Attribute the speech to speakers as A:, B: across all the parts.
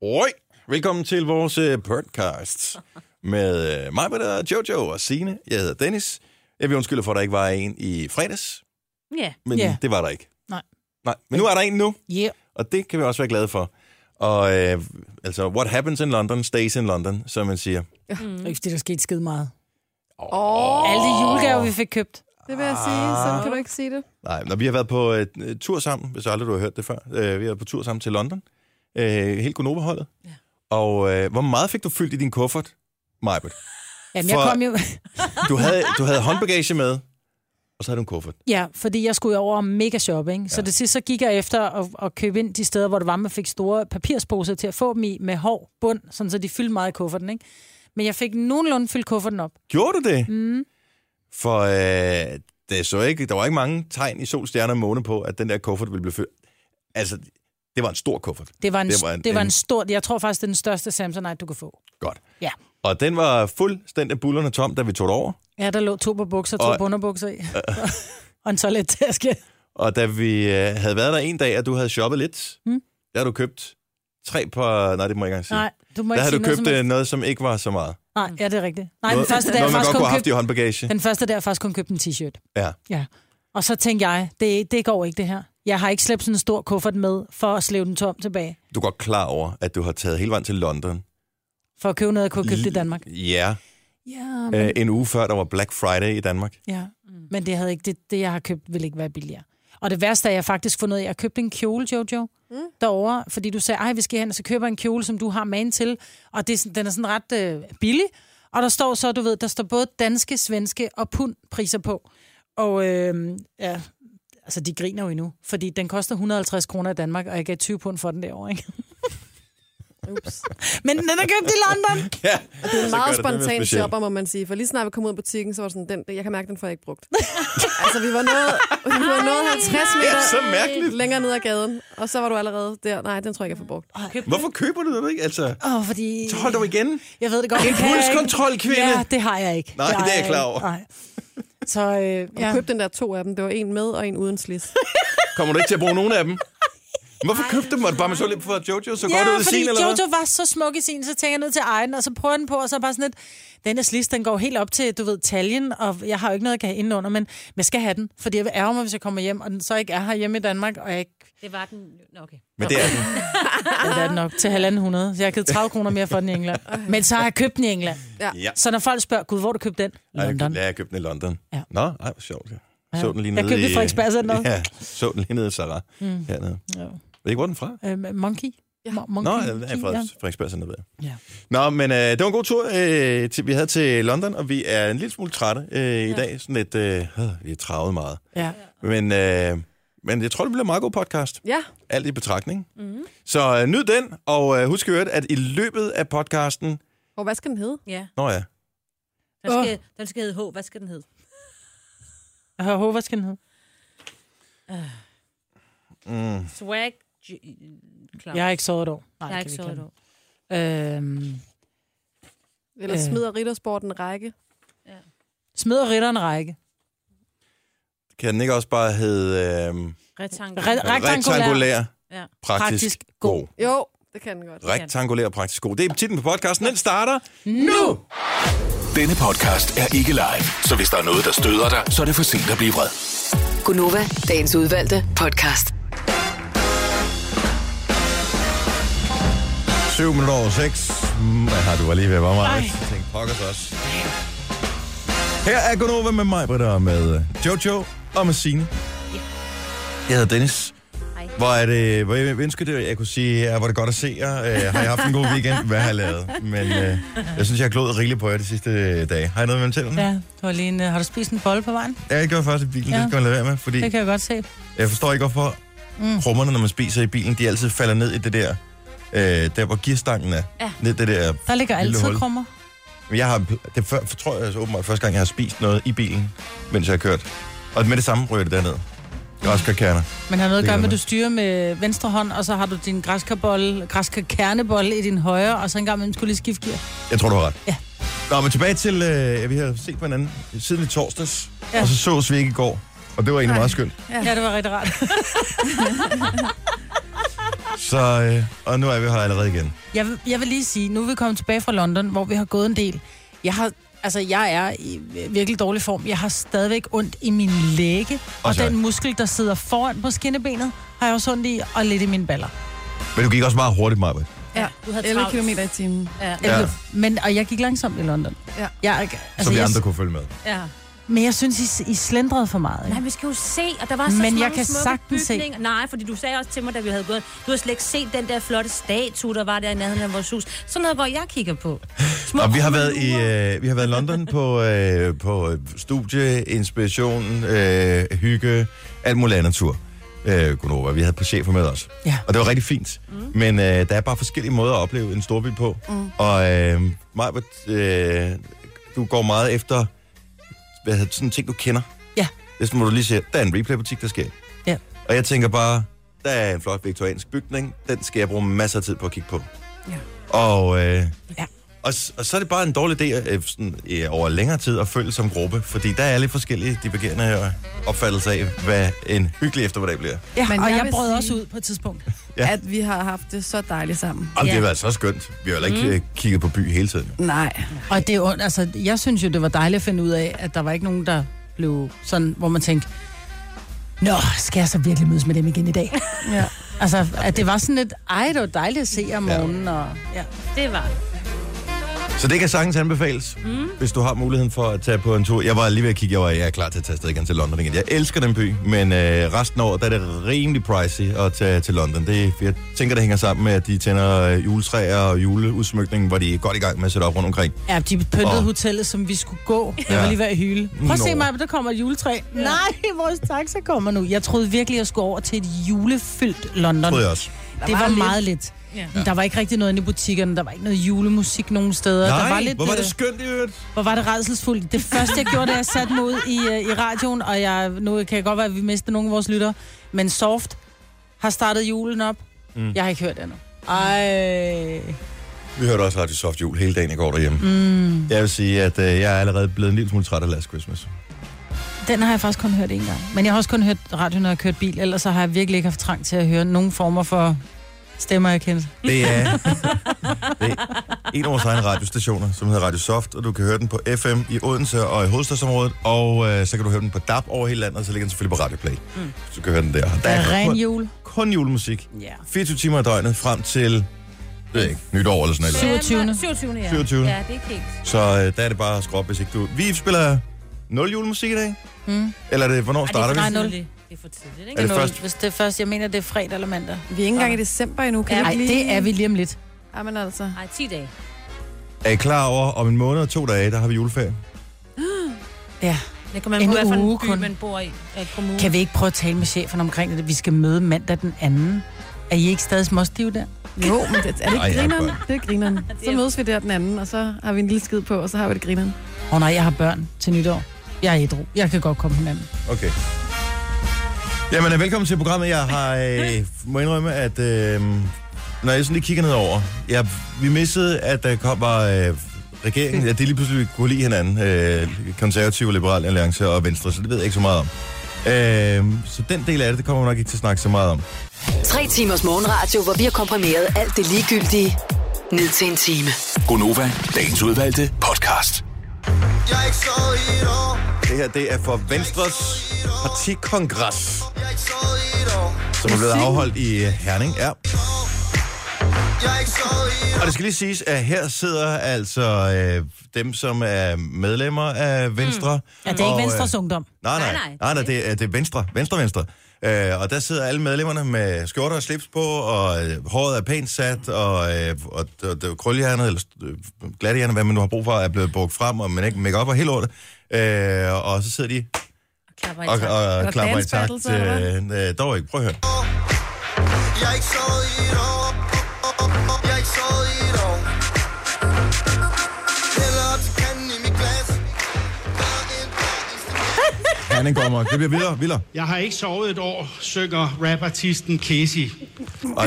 A: Oi. Velkommen til vores øh, podcast med øh, mig, Britta, og Jojo og Sine. Jeg hedder Dennis. Jeg vil undskylde for, at der ikke var en i fredags,
B: Ja.
A: men
C: Ja.
A: det var der ikke.
C: Nej.
A: Nej, men nu er der en nu,
C: Yeah.
A: og det kan vi også være glade for. Og øh, altså, what happens in London, stays in London, som man siger.
C: Mm. Ikke fordi der skete skide meget.
D: Åh,
C: Oh. Alle de julegaver, vi fik købt.
D: det vil jeg sige. Sådan kan du ikke sige det.
A: Ah. Nej, når vi har været på øh, øh, tur sammen, hvis aldrig du har hørt det før. Øh, vi har været på tur sammen til London. Øh, helt Gunova-holdet. Ja. Og øh, hvor meget fik du fyldt i din kuffert, Majbert?
C: Jamen,
A: For-
C: jeg kom jo...
A: Du havde, du havde håndbagage med, og så havde du en kuffert.
C: ja, fordi jeg skulle jo over og mega shopping. Så
A: Ja.
C: det sidste, så gik jeg efter at, at købe ind de steder, hvor det var, man fik store papirsposer til at få dem i med hård bund, sådan så de fyldte meget i kufferten, ikke? Men jeg fik nogenlunde fyldt kufferten op.
A: Gjorde du det?
C: Mm.
A: For øh, det så ikke, der var ikke mange tegn i sol, stjerner og måne på, at den der kuffert ville blive fyldt. Altså, det var en stor kuffert.
C: Det var en,
A: Det var en-
C: det var
A: en-
C: en stor... Jeg tror faktisk, det er den største Samsonite, du kan få.
A: Godt.
C: Ja.
A: Og den var fuldstændig bullerne tom, da vi tog det over.
C: Ja, der lå to på bukser, to
A: Og-
C: og... på underbukser i. og en toilettaske.
A: Og da vi øh, havde været der en dag, at du havde shoppet lidt, mm.
C: Mm.
A: der havde du købt tre par... Nej, det må jeg ikke engang sige.
C: Nej, du må
A: der
C: ikke
A: havde
C: sige
A: du
C: noget,
A: købt
C: som
A: noget
C: helst.
A: som, noget, som ikke var så meget.
C: Nej, ja, det er rigtigt. Nej,
A: noget,
C: den første dag, har
A: noget,
C: jeg
A: man
C: faktisk
A: godt kunne
C: kun
A: have haft
C: købt...
A: i håndbagage.
C: Den første der har jeg faktisk kun købt en t-shirt.
A: Ja.
C: Ja. Og så tænkte jeg, det, det går ikke det her. Jeg har ikke slæbt sådan en stor kuffert med for at slæve den tom tilbage.
A: Du er godt klar over, at du har taget hele vejen til London.
C: For at købe noget, jeg kunne købe i Danmark.
A: Ja,
C: Ja, men,
A: øh, en uge før, der var Black Friday i Danmark.
C: ja. men det, havde ikke, det, det, jeg har købt, ville ikke være billigere. Og det værste er, at jeg faktisk fundet ud af, at jeg købte en kjole, Jojo, mm. derovre, fordi du sagde, ej, vi skal hen, og så køber jeg en kjole, som du har magen til, og det er, sådan- den er sådan ret øh, billig, og der står så, du ved, der står både danske, svenske og pund priser på. Og øh, ja, altså, de griner jo endnu, fordi den koster 150 kroner i Danmark, og jeg gav 20 pund for den derovre, ikke?
D: Ups.
C: Men den er købt i London.
A: Ja,
D: Det er
A: Så gør
D: en
A: det
D: meget
A: nemlig
D: spontan
A: specielt.
D: shopper, må man sige. For lige snart vi kom ud af butikken, så var det sådan, den, jeg kan mærke, den får jeg ikke brugt. altså, vi var nået, vi var nået 50
A: det er
D: meter
A: så mærkeligt.
D: længere ned ad gaden, og så var du allerede der. Nej, den tror jeg ikke, jeg får brugt.
A: Hvorfor køber du det ikke? Altså,
C: Åh, oh, fordi...
A: så hold dog igen.
C: Jeg ved det godt. det kan jeg ikke.
A: Impulskontrol, kvinde.
C: Ja, det har jeg ikke.
A: Nej, det er
C: har
A: jeg klar
C: ikke.
A: over.
C: Nej. Så øh,
D: Jeg
C: ja.
D: købte den der to af dem. Det var en med og en uden slis.
A: Kommer du ikke til at bruge nogen af dem? Hvorfor købte du dem? Var det bare man så lidt for Jojo, så godt ud af
C: fordi
A: sin, eller hvad?
C: Jojo var så smuk i sin, så tænker jeg ned til egen, og så prøver den på, og så er bare sådan lidt, den her slis, den går helt op til, du ved, taljen, og jeg har jo ikke noget, jeg kan have indenunder, men men jeg skal have den, fordi jeg vil ærge mig, hvis jeg kommer hjem, og den så ikke er her hjemme i Danmark, og jeg ikke
B: Det var den... Nå, okay.
A: Men det er den.
C: er den nok til halvanden hundrede, så jeg har givet 30 kroner mere for den i England. Men så har jeg købt den i England.
A: Ja.
C: Så når folk spørger, gud, hvor har du købte den?
A: Ej, jeg
C: London.
A: købte- Ja, jeg købte den i London.
C: Ja.
A: Nå, ej, hvor sjovt. Jeg så
C: Ja.
A: den lige
C: Jeg
A: nede
C: købte
A: i...
C: i Frederiksberg Center.
A: Ja, så den lige nede i Sarah. Mm. Hernede.
C: Ja.
A: Ved ikke, hvor er den fra?
C: Øh, monkey?
D: Ja.
C: Mo- monkey?
A: Nå, den er
C: Monkey,
A: fra
C: ja.
A: Frederiksberg Center, ved jeg.
C: Ja.
A: Nå, men øh, det var en god tur, øh, til, vi havde til London, og vi er en lille smule trætte øh, i
D: Ja.
A: dag. Sådan lidt, øh, øh, vi er travlet meget.
C: Ja.
A: Men, øh, men jeg tror, det bliver en meget god podcast.
D: Ja,
A: alt i betragtning. Mm.
B: Mm-hmm.
A: Så øh, nyd den, og øh, husk i øvrigt, at i løbet af podcasten...
D: og hvad skal den hedde?
B: Ja.
A: Nå ja,
B: Den skal, den skal hedde H. Hvad skal den hedde?
C: Jeg har håbet, hvad skal den hedde?
B: Ah.
A: mm,
B: Swag... J- Klar.
C: Jeg har ikke sovet et år. Nej,
B: jeg har ikke sovet
C: et
B: dog.
C: år. Øhm,
D: Eller
C: Øh.
D: smider riddersporten en række?
C: smider ritteren række.
A: kan den ikke også bare hedde øh,
B: Retangle.
C: Re- rektangulær.
A: rektangulær,
B: Ja.
A: praktisk, praktisk
C: Praktisk
A: god.
C: god.
A: god.
D: Jo, det kan den godt.
A: Rektangulær, praktisk god. Det er titlen på podcasten. Den starter nu!
E: Denne podcast er ikke live, så hvis der er noget, der støder dig, så er det for sent at blive vred.
F: Gunova, dagens udvalgte podcast.
A: 7 minutter over 6. Mm, hvad har du var lige ved at være meget.
C: Ej.
A: Jeg tænkte, pokkers også. Her er Gunova med mig, Britta, og med øh, Jojo og med Signe. Jeg hedder Dennis.
B: Hej.
A: Hvor er det, hvor jeg ønsker det, jeg kunne sige, ja, hvor er det godt at se jer. Øh, har jeg haft en god weekend? Hvad har jeg lavet? Men øh, jeg synes, jeg har glået rigeligt på jer de sidste øh, dage. Har I noget med til? Ja.
C: Ja, du har, lige en, øh, har du spist en bolle på vejen?
A: Jeg gjorde først i bilen, ja.
C: Ja.
A: det skal man lade være med, fordi
C: Det kan jeg godt se.
A: jeg forstår ikke, hvorfor mm. rummerne, når man spiser i bilen, de altid falder ned i det der, øh, der hvor gearstangen er.
B: Ja.
A: Ned det der
C: Der ligger
A: Lille
C: altid
A: hul.
C: krummer.
A: Men Jeg har, det er før, for, tror jeg altså, åbenbart første gang, jeg har spist noget i bilen, mens jeg har kørt. Og med det samme ryger det derned. Græskarkerner.
C: Men har noget
A: Det kan
C: at gøre med, at
A: man.
C: du styrer med venstre hånd, og så har du din græskarbolle, græskarkernebolle i din højre, og så en gang imellem skulle lige skifte gear.
A: Jeg tror, du har ret.
C: Ja.
A: Nå, men tilbage til, øh, at vi har set på hinanden siden i torsdags, ja.
C: Ja.
A: og så sås vi ikke i går. Og det var egentlig meget skønt.
C: Ja, det var rigtig rart.
A: Så, øh, og nu er vi her allerede igen.
C: Jeg, vil- jeg vil lige sige, nu er vi kommet tilbage fra London, hvor vi har gået en del. Jeg har, altså, jeg er i virkelig dårlig form. Jeg har stadigvæk ondt i min læge, og,
A: Og så-
C: den muskel, der sidder foran på skinnebenet, har jeg også ondt i, og lidt i mine baller.
A: Men du gik også meget hurtigt, Maja.
B: Ja, du havde
D: 11
B: travlt.
D: km i timen.
B: Ja.
A: Ja.
C: Altså, Men, og jeg gik langsomt i London.
D: Ja.
C: Jeg, er ikke-
A: Så
C: altså,
A: vi
C: jeg,
A: andre kunne følge med.
B: ja.
C: men jeg synes, I, I slendrede for meget.
B: Nej,
C: Ikke?
B: vi skal jo se, og der var så
C: Men
B: mange
C: jeg kan
B: smukke
C: sagtens se.
B: bygninger. Nej, fordi du sagde også til mig, da vi havde gået, du har slet ikke set den der flotte statue, der var der i nærheden af vores hus. Sådan noget, hvor jeg kigger på. Små
A: Og vi har været i
B: ormelurer.
A: øh, vi har været i London på øh, på øh, studie, inspiration, øh, hygge, alt muligt andet tur. Øh, Gunova, vi havde på chefer med os.
C: Ja.
A: Og det var rigtig fint. Mm. Men øh, der er bare forskellige måder at opleve en storby på. Mm. Og øh, Majbert, øh, du går meget efter hvad hedder, det, sådan ting, du kender.
C: Ja.
A: Det er sådan, hvor du lige siger, der er en replay-butik, der sker.
C: Ja.
A: Og jeg tænker bare, der er en flot viktoriansk bygning, den skal jeg bruge masser af tid på at kigge på. Ja. Og, øh,
C: Ja.
A: og, s- og så er det bare en dårlig idé øh, sådan, øh, over længere tid at følge som gruppe, fordi der er lidt forskellige divergerende øh, opfattelser af, hvad en hyggelig eftermiddag bliver.
D: Ja,
C: Og jeg,
D: vil
C: brød
D: sige,
C: også ud på et tidspunkt.
A: Ja.
D: at vi har haft det så dejligt sammen.
A: Og det
B: Ja.
A: har været så skønt. Vi har heller ikke mm. kigget på by hele tiden.
D: Nej.
C: Og det er ondt, altså, jeg synes jo, det var dejligt at finde ud af, at der var ikke nogen, der blev sådan, hvor man tænkte, Nå, skal jeg så virkelig mødes med dem igen i dag?
D: Ja.
C: Altså, at det var sådan lidt, ej, det var dejligt at se om
A: Ja.
C: morgenen, og ja.
B: Det var det.
A: Så det kan sagtens anbefales, mm. hvis du har muligheden for at tage på en tur. Jeg var lige ved at kigge, jeg, var, jeg er klar til at tage afsted igen til London igen. Jeg elsker den by, men øh, resten af året der er det rimelig pricey at tage til London. Det, jeg tænker, det hænger sammen med, at de tænder øh, juletræer og juleudsmykningen, hvor de er godt i gang med at sætte op rundt omkring.
C: Ja, de pyntede
A: Åh.
C: oh. hotellet, som vi skulle gå. Jeg
A: Ja.
C: var lige ved at hyle. Prøv at
A: Nå.
C: se mig, der kommer et juletræ. Ja. Nej, vores taxa kommer nu. Jeg troede virkelig, jeg skulle over til et julefyldt London.
A: Tror jeg også.
C: Det var
D: var lidt.
C: meget lidt.
B: Ja.
C: Ja. Der var ikke rigtig noget inde i butikkerne. Der var ikke noget julemusik nogen steder.
A: Nej,
C: der var lidt,
A: hvor var det
C: øh,
A: skønt i øvrigt.
C: Hvor var det redselsfuldt. Det første, jeg gjorde, da jeg satte mig ud i, øh, i radioen, og jeg, nu kan jeg godt være, at vi mistede nogle af vores lytter, men Soft har startet julen op. Mm. Jeg har ikke hørt det endnu. Ej.
A: Vi hørte også Radio Soft Jul hele dagen i går derhjemme. Mm. Jeg vil sige, at øh, jeg er allerede blevet en lille smule træt af Last Christmas.
C: Den har jeg faktisk kun hørt en gang. Men jeg har også kun hørt radio, når jeg har kørt bil, ellers så har jeg virkelig ikke haft trang til at høre nogen former for stemmer, jeg kender.
A: Det er, det er en af vores egne radiostationer, som hedder Radio Soft, og du kan høre den på FM i Odense og i hovedstadsområdet, og øh, så kan du høre den på DAB over hele landet, og så ligger den selvfølgelig på Radio Play. Mm. Så du kan høre den der. Og Der
C: Der er
A: er
C: ren
A: kun,
C: jul.
A: kun julemusik.
C: Ja.
A: 24 timer i døgnet frem til det ved jeg ikke, nytår eller sådan noget.
C: 27..
B: 27. Ja.
A: 27..
B: Ja, det er ikke helt.
A: Så øh, der er det bare at skrue op, hvis ikke du... Vi spiller nul julemusik i dag? Mm. Eller er det, hvornår starter vi?
C: nej,
B: for
C: nul.
B: tidligt. Det er for tidligt, ikke?
A: Er det
C: Nul,
A: først?
C: Hvis det er først, jeg mener, det er fredag eller mandag.
D: Vi er ikke engang i december endnu, kan
C: Nej,
D: ikke lige...
C: det er vi lige om lidt.
D: Jamen altså.
B: Nej, 10 dage.
A: Er I klar over, om en måned og to dage, der har vi juleferie?
C: Ja.
B: Det kan man
C: En
B: på, hvad for
C: uge
B: en by,
C: kun.
B: man bor i. Af kommunen.
C: Kan vi ikke prøve at tale med chefen omkring det? Vi skal møde mandag den anden. Er I ikke stadig småstive der?
D: Jo, men det, er det
A: Ej,
D: ikke grineren?
A: Akbar.
D: Det er grineren. Så mødes vi der den anden, og så har vi en lille skid på, og så har vi det grineren.
C: Åh oh, nej, jeg har børn til nytår. Jeg er ædru. Jeg kan godt komme med dem.
A: Okay. Jamen, øh, velkommen til programmet. Jeg har, øh, må indrømme, at øh, når jeg sådan lige kigger nedover, jeg, vi missede, at der kom bare øh, regeringen, at de lige pludselig kunne lide hinanden, øh, konservative, liberale alliance og venstre, så det ved jeg ikke så meget om. Øh, så den del af det, det kommer vi nok ikke til at snakke så meget om.
F: Tre timers morgenradio, hvor vi har komprimeret alt det ligegyldige ned til en time.
E: Gonova, dagens udvalgte podcast.
G: Jeg er ikke sovet i et år.
A: Det her, det er for Venstres partikongres,
G: Jeg er ikke sovet i et år.
A: som er blevet afholdt i øh, Herning. Ja.
G: Jeg er ikke sovet i et år.
A: Og det skal lige siges, at her sidder altså øh, dem, som er medlemmer af Venstre. Mm.
C: Ja, det er ikke Venstres ungdom.
A: Nej, nej,
B: Nej,
A: nej,
B: nej.
A: nej, nej det, er, det er Venstre, Venstre, Venstre. Øh, og der sidder alle medlemmerne med skjorter og slips på, og øh, håret er pænt sat, og, øh, og, og, og krølhjernet, eller øh, glattehjernet, hvad man nu har brug for, er blevet brugt frem, og man ikke make op og helt lortet. Øh, og så sidder de
B: Klapper i
A: og,
B: takt.
A: og,
D: der
A: og klapper i
D: dance
A: takt.
D: battles, eller
A: Øh, øh, dog ikke, prøv at høre.
G: Jeg er ikke sovet i et år. Jeg er ikke sovet i et år. Hælder op til kanden i mit glas. Bare en, bare en stik.
A: Herning går mig. Det bliver vildere, vildere.
H: Jeg har ikke sovet et år, synger rapartisten Casey.
C: Og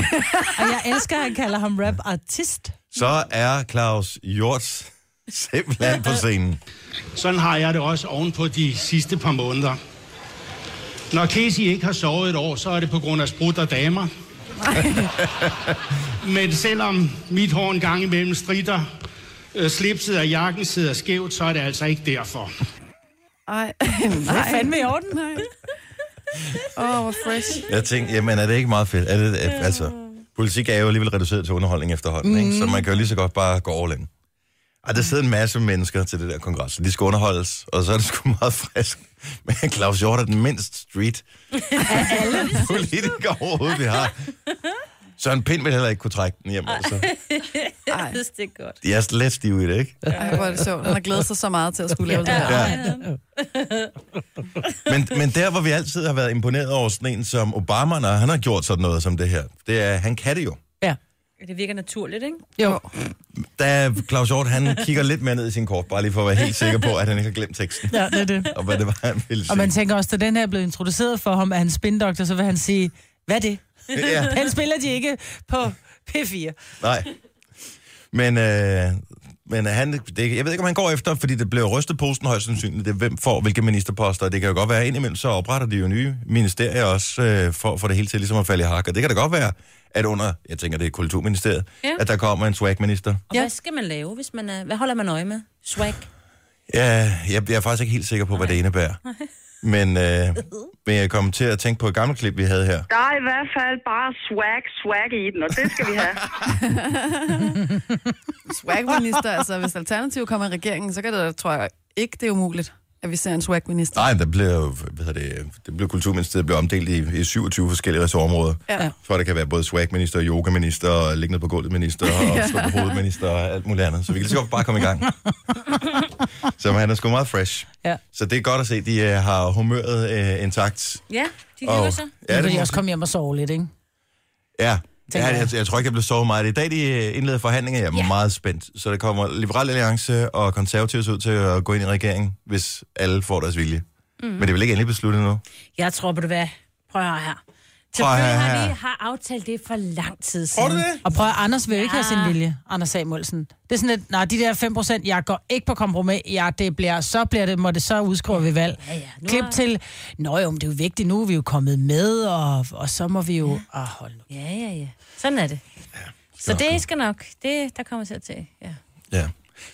C: jeg elsker, at han kalder ham rap-artist.
A: Så er Claus Hjort simpelthen på scenen.
H: Sådan har jeg det også oven på de sidste par måneder. Når Casey ikke har sovet et år, så er det på grund af sprut og damer. Men selvom mit hår en gang imellem strider, øh, slipset og jakken sidder skævt, så er det altså ikke derfor.
D: Ej,
C: Det
D: nej.
C: er fandme i orden.
D: Åh, oh, hvor fresh.
A: Jeg tænkte, jamen er det ikke meget fedt? Er det, ja. altså, politik er jo alligevel reduceret til underholdning efterhånden, mm. ikke? så man kan jo lige så godt bare gå all in. Ej, der sidder en masse mennesker til det der kongres, de skal underholdes, og så er det sgu meget frisk. Men Claus Hjort er den mindst street politiker overhovedet, vi har. Så en pind vil heller ikke kunne trække den hjem. Altså.
B: Jeg synes, det er godt.
A: De er slet stive i det, ikke?
D: Ej, hvor er det sjovt. Han har glædet sig så meget til at skulle lave det her.
A: Ja. Men, men der, hvor vi altid har været imponeret over sådan en som Obama, når han har gjort sådan noget som det her, det er, han kan det jo.
C: Ja.
B: Det virker naturligt, ikke?
C: Jo.
A: Da Claus Hjort, han kigger lidt mere ned i sin kort, bare lige for at være helt sikker på, at han ikke har glemt teksten,
C: Ja, det er det.
A: og hvad det var, han ville sige.
C: Og man tænker også, da den her er blevet introduceret for ham af hans spindoktor, så vil han sige, hvad er det?
A: ja,
C: Den spiller de ikke på P4.
A: nej. Men, øh, men han, det, jeg ved ikke, om han går efter, fordi det blev rystet posten højst sandsynligt, det er, hvem får hvilke ministerposter, og det kan jo godt være, at indimellem så opretter de jo nye ministerier også, øh, for, for det hele til ligesom at falde i hak, og det kan da godt være, at under, jeg tænker, det er Kulturministeriet, ja.
B: Ja.
A: at der kommer en swagminister.
B: Og ja. hvad skal man lave, hvis man er... Hvad holder man øje med? Swag.
A: Ja, jeg, jeg er faktisk ikke helt sikker på, hvad det indebærer. Men, øh, men jeg kom til at tænke på et gammelt klip, vi havde her.
I: Der er i hvert fald bare swag, swag i den, og det skal vi have.
D: Swagminister, altså hvis Alternativ kommer i regeringen, så kan det, tror jeg ikke, det er umuligt, at vi ser en swagminister.
A: Nej, der blev, jo- hvad hedder det, det blev kulturministeriet blev omdelt i, i 27 forskellige ressortområder.
D: Ja.
A: Jeg tror, det kan være både swagminister, yogaminister, og liggende på gulvet minister, og stå på hovedet minister, og alt muligt andet. Så vi kan lige så godt bare komme i gang. så han er sgu meget fresh.
C: Ja.
A: Så det er godt at se, de øh, har humøret øh, intakt.
B: Ja, de
A: Og-
B: hygger sig.
A: Ja,
C: Ja, nu
A: det
C: vil
A: må,
C: jeg også komme hjem og sove lidt, ikke?
A: ja. Ja,
C: tænker
A: jeg,
C: jeg.
A: jeg, jeg tror ikke, jeg blev sovet meget. I dag, de øh, indleder forhandlinger, jeg er ja. meget spændt. Så der kommer Liberal Alliance og Konservative ser ud til at gå ind i regeringen, hvis alle får deres vilje. Mm. Men det er vel ikke endelig besluttet nu?
B: Jeg tror på det, hvad? Prøv at høre her.
A: Prøv at høre
B: Selvfølgelig har
A: her.
B: vi har aftalt det for lang tid siden.
A: Tror du det?
C: Og prøv at- Anders vil jo ikke ja. have sin vilje, Anders Samuelsen. Det er sådan lidt, nej, de der 5%, jeg går ikke på kompromis, ja, det bliver, så bliver det, må det så udskrive ved valg. Ja,
B: ja. Nu
C: Klip
B: er-
C: til, nå jo, men det er jo vigtigt, nu er vi jo kommet med, og, og så må vi jo, ja. ah, hold nu.
B: Ja, ja, ja. Sådan er det. Så det skal nok. Det, der kommer til at tage. Ja.
A: Ja.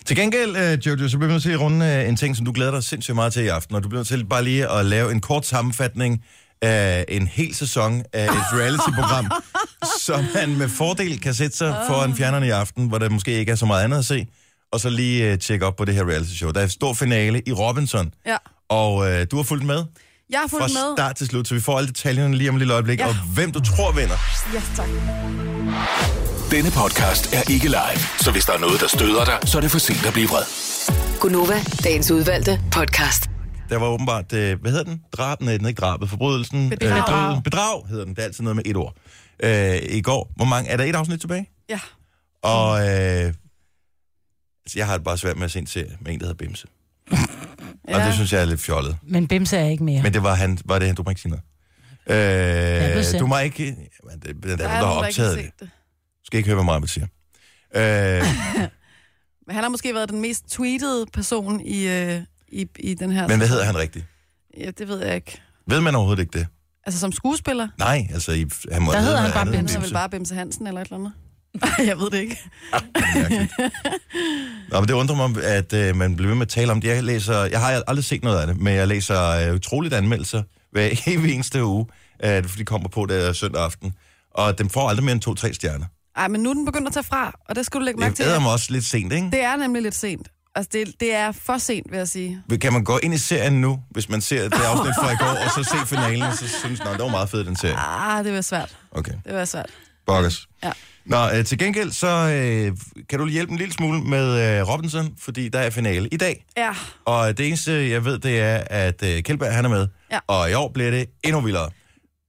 A: Til gengæld, øh, Jojo, så bliver vi nødt til at runde øh, en ting, som du glæder dig sindssygt meget til i aften. Og du bliver nødt til bare lige at lave en kort sammenfatning af en hel sæson af et reality-program, som man med fordel kan sætte sig foran fjerneren i aften, hvor der måske ikke er så meget andet at se. Og så lige øh, tjekke op på det her reality-show. Der er et stor finale i Robinson.
D: Ja.
A: Og øh, du har fulgt med
D: Jeg har fulgt
A: fra
D: med.
A: start til slut, så vi får alle detaljerne lige om et lille øjeblik. Ja.
D: Ja.
A: Og hvem du tror vinder.
D: Ja, tak.
E: Denne podcast er ikke live, så hvis der er noget, der støder dig, så er det for sent at blive vred.
F: Gunova, dagens udvalgte podcast.
A: Der var åbenbart, øh, hvad hedder den? Drab, nej, den er ikke drabet, forbrydelsen.
D: Bedrag.
A: Øh, døden. bedrag hedder den, det er altid noget med et ord. Øh, I går, hvor mange, er der et afsnit tilbage?
D: Ja.
A: Og øh, altså, jeg har det bare svært med at se en serie med en, der hedder Bimse. Ja. Og det synes jeg er lidt fjollet.
C: Men Bimse er ikke mere.
A: Men det var han, var det han, du må ikke sige noget.
C: blev
A: Øh,
C: sendt.
A: du må ikke... Men det, det, det, der
D: Der
A: er
D: er
A: nogen, der
D: nogen,
A: har
D: der ikke har
A: optaget det.
D: set det.
A: Du skal ikke høre, hvad meget man siger. Øh,
D: Men han har måske været den mest tweetede person i, øh, i, i den her...
A: men hvad hedder han rigtigt?
D: Ja, det ved jeg ikke.
A: Ved man overhovedet ikke det?
D: Altså som skuespiller?
A: Nej, altså, I, han må
C: Der
A: have
C: hedder han
A: noget
C: bare
A: andet end
D: Han er vel bare Bimse Hansen eller et eller andet? Ej, jeg ved det ikke.
A: Mærkeligt. Nå, men det undrer mig, at øh, man bliver ved med at tale om det. Jeg, læser, jeg har aldrig set noget af det, men jeg læser øh, utroligt anmeldelser hver evig eneste uge, øh, for de kommer på der søndag aften. Og dem får aldrig mere end to-tre stjerner.
D: Ej, men nu er den begyndt at tage fra, og det skal du lægge mærke
A: Det
D: til.
A: æder mig også lidt sent, ikke?
D: Det er nemlig lidt sent. Altså, det, det er for sent, vil jeg sige.
A: Det... Kan man gå ind i serien nu, hvis man ser det afsnit fra i går, og så se finalen, og så synes man, det var meget fedt, den serie.
D: Ah, det var svært.
A: Okay,
D: Det var svært.
A: bokkers.
D: Ja.
A: Nå, øh, til gengæld, så øh, kan du hjælpe en lille smule med øh, Robinson, fordi der er finale i dag.
D: Ja,
A: Og det eneste, jeg ved, det er, at øh, Kjeldberg, han er med.
D: Ja.
A: Og i år bliver det endnu vildere.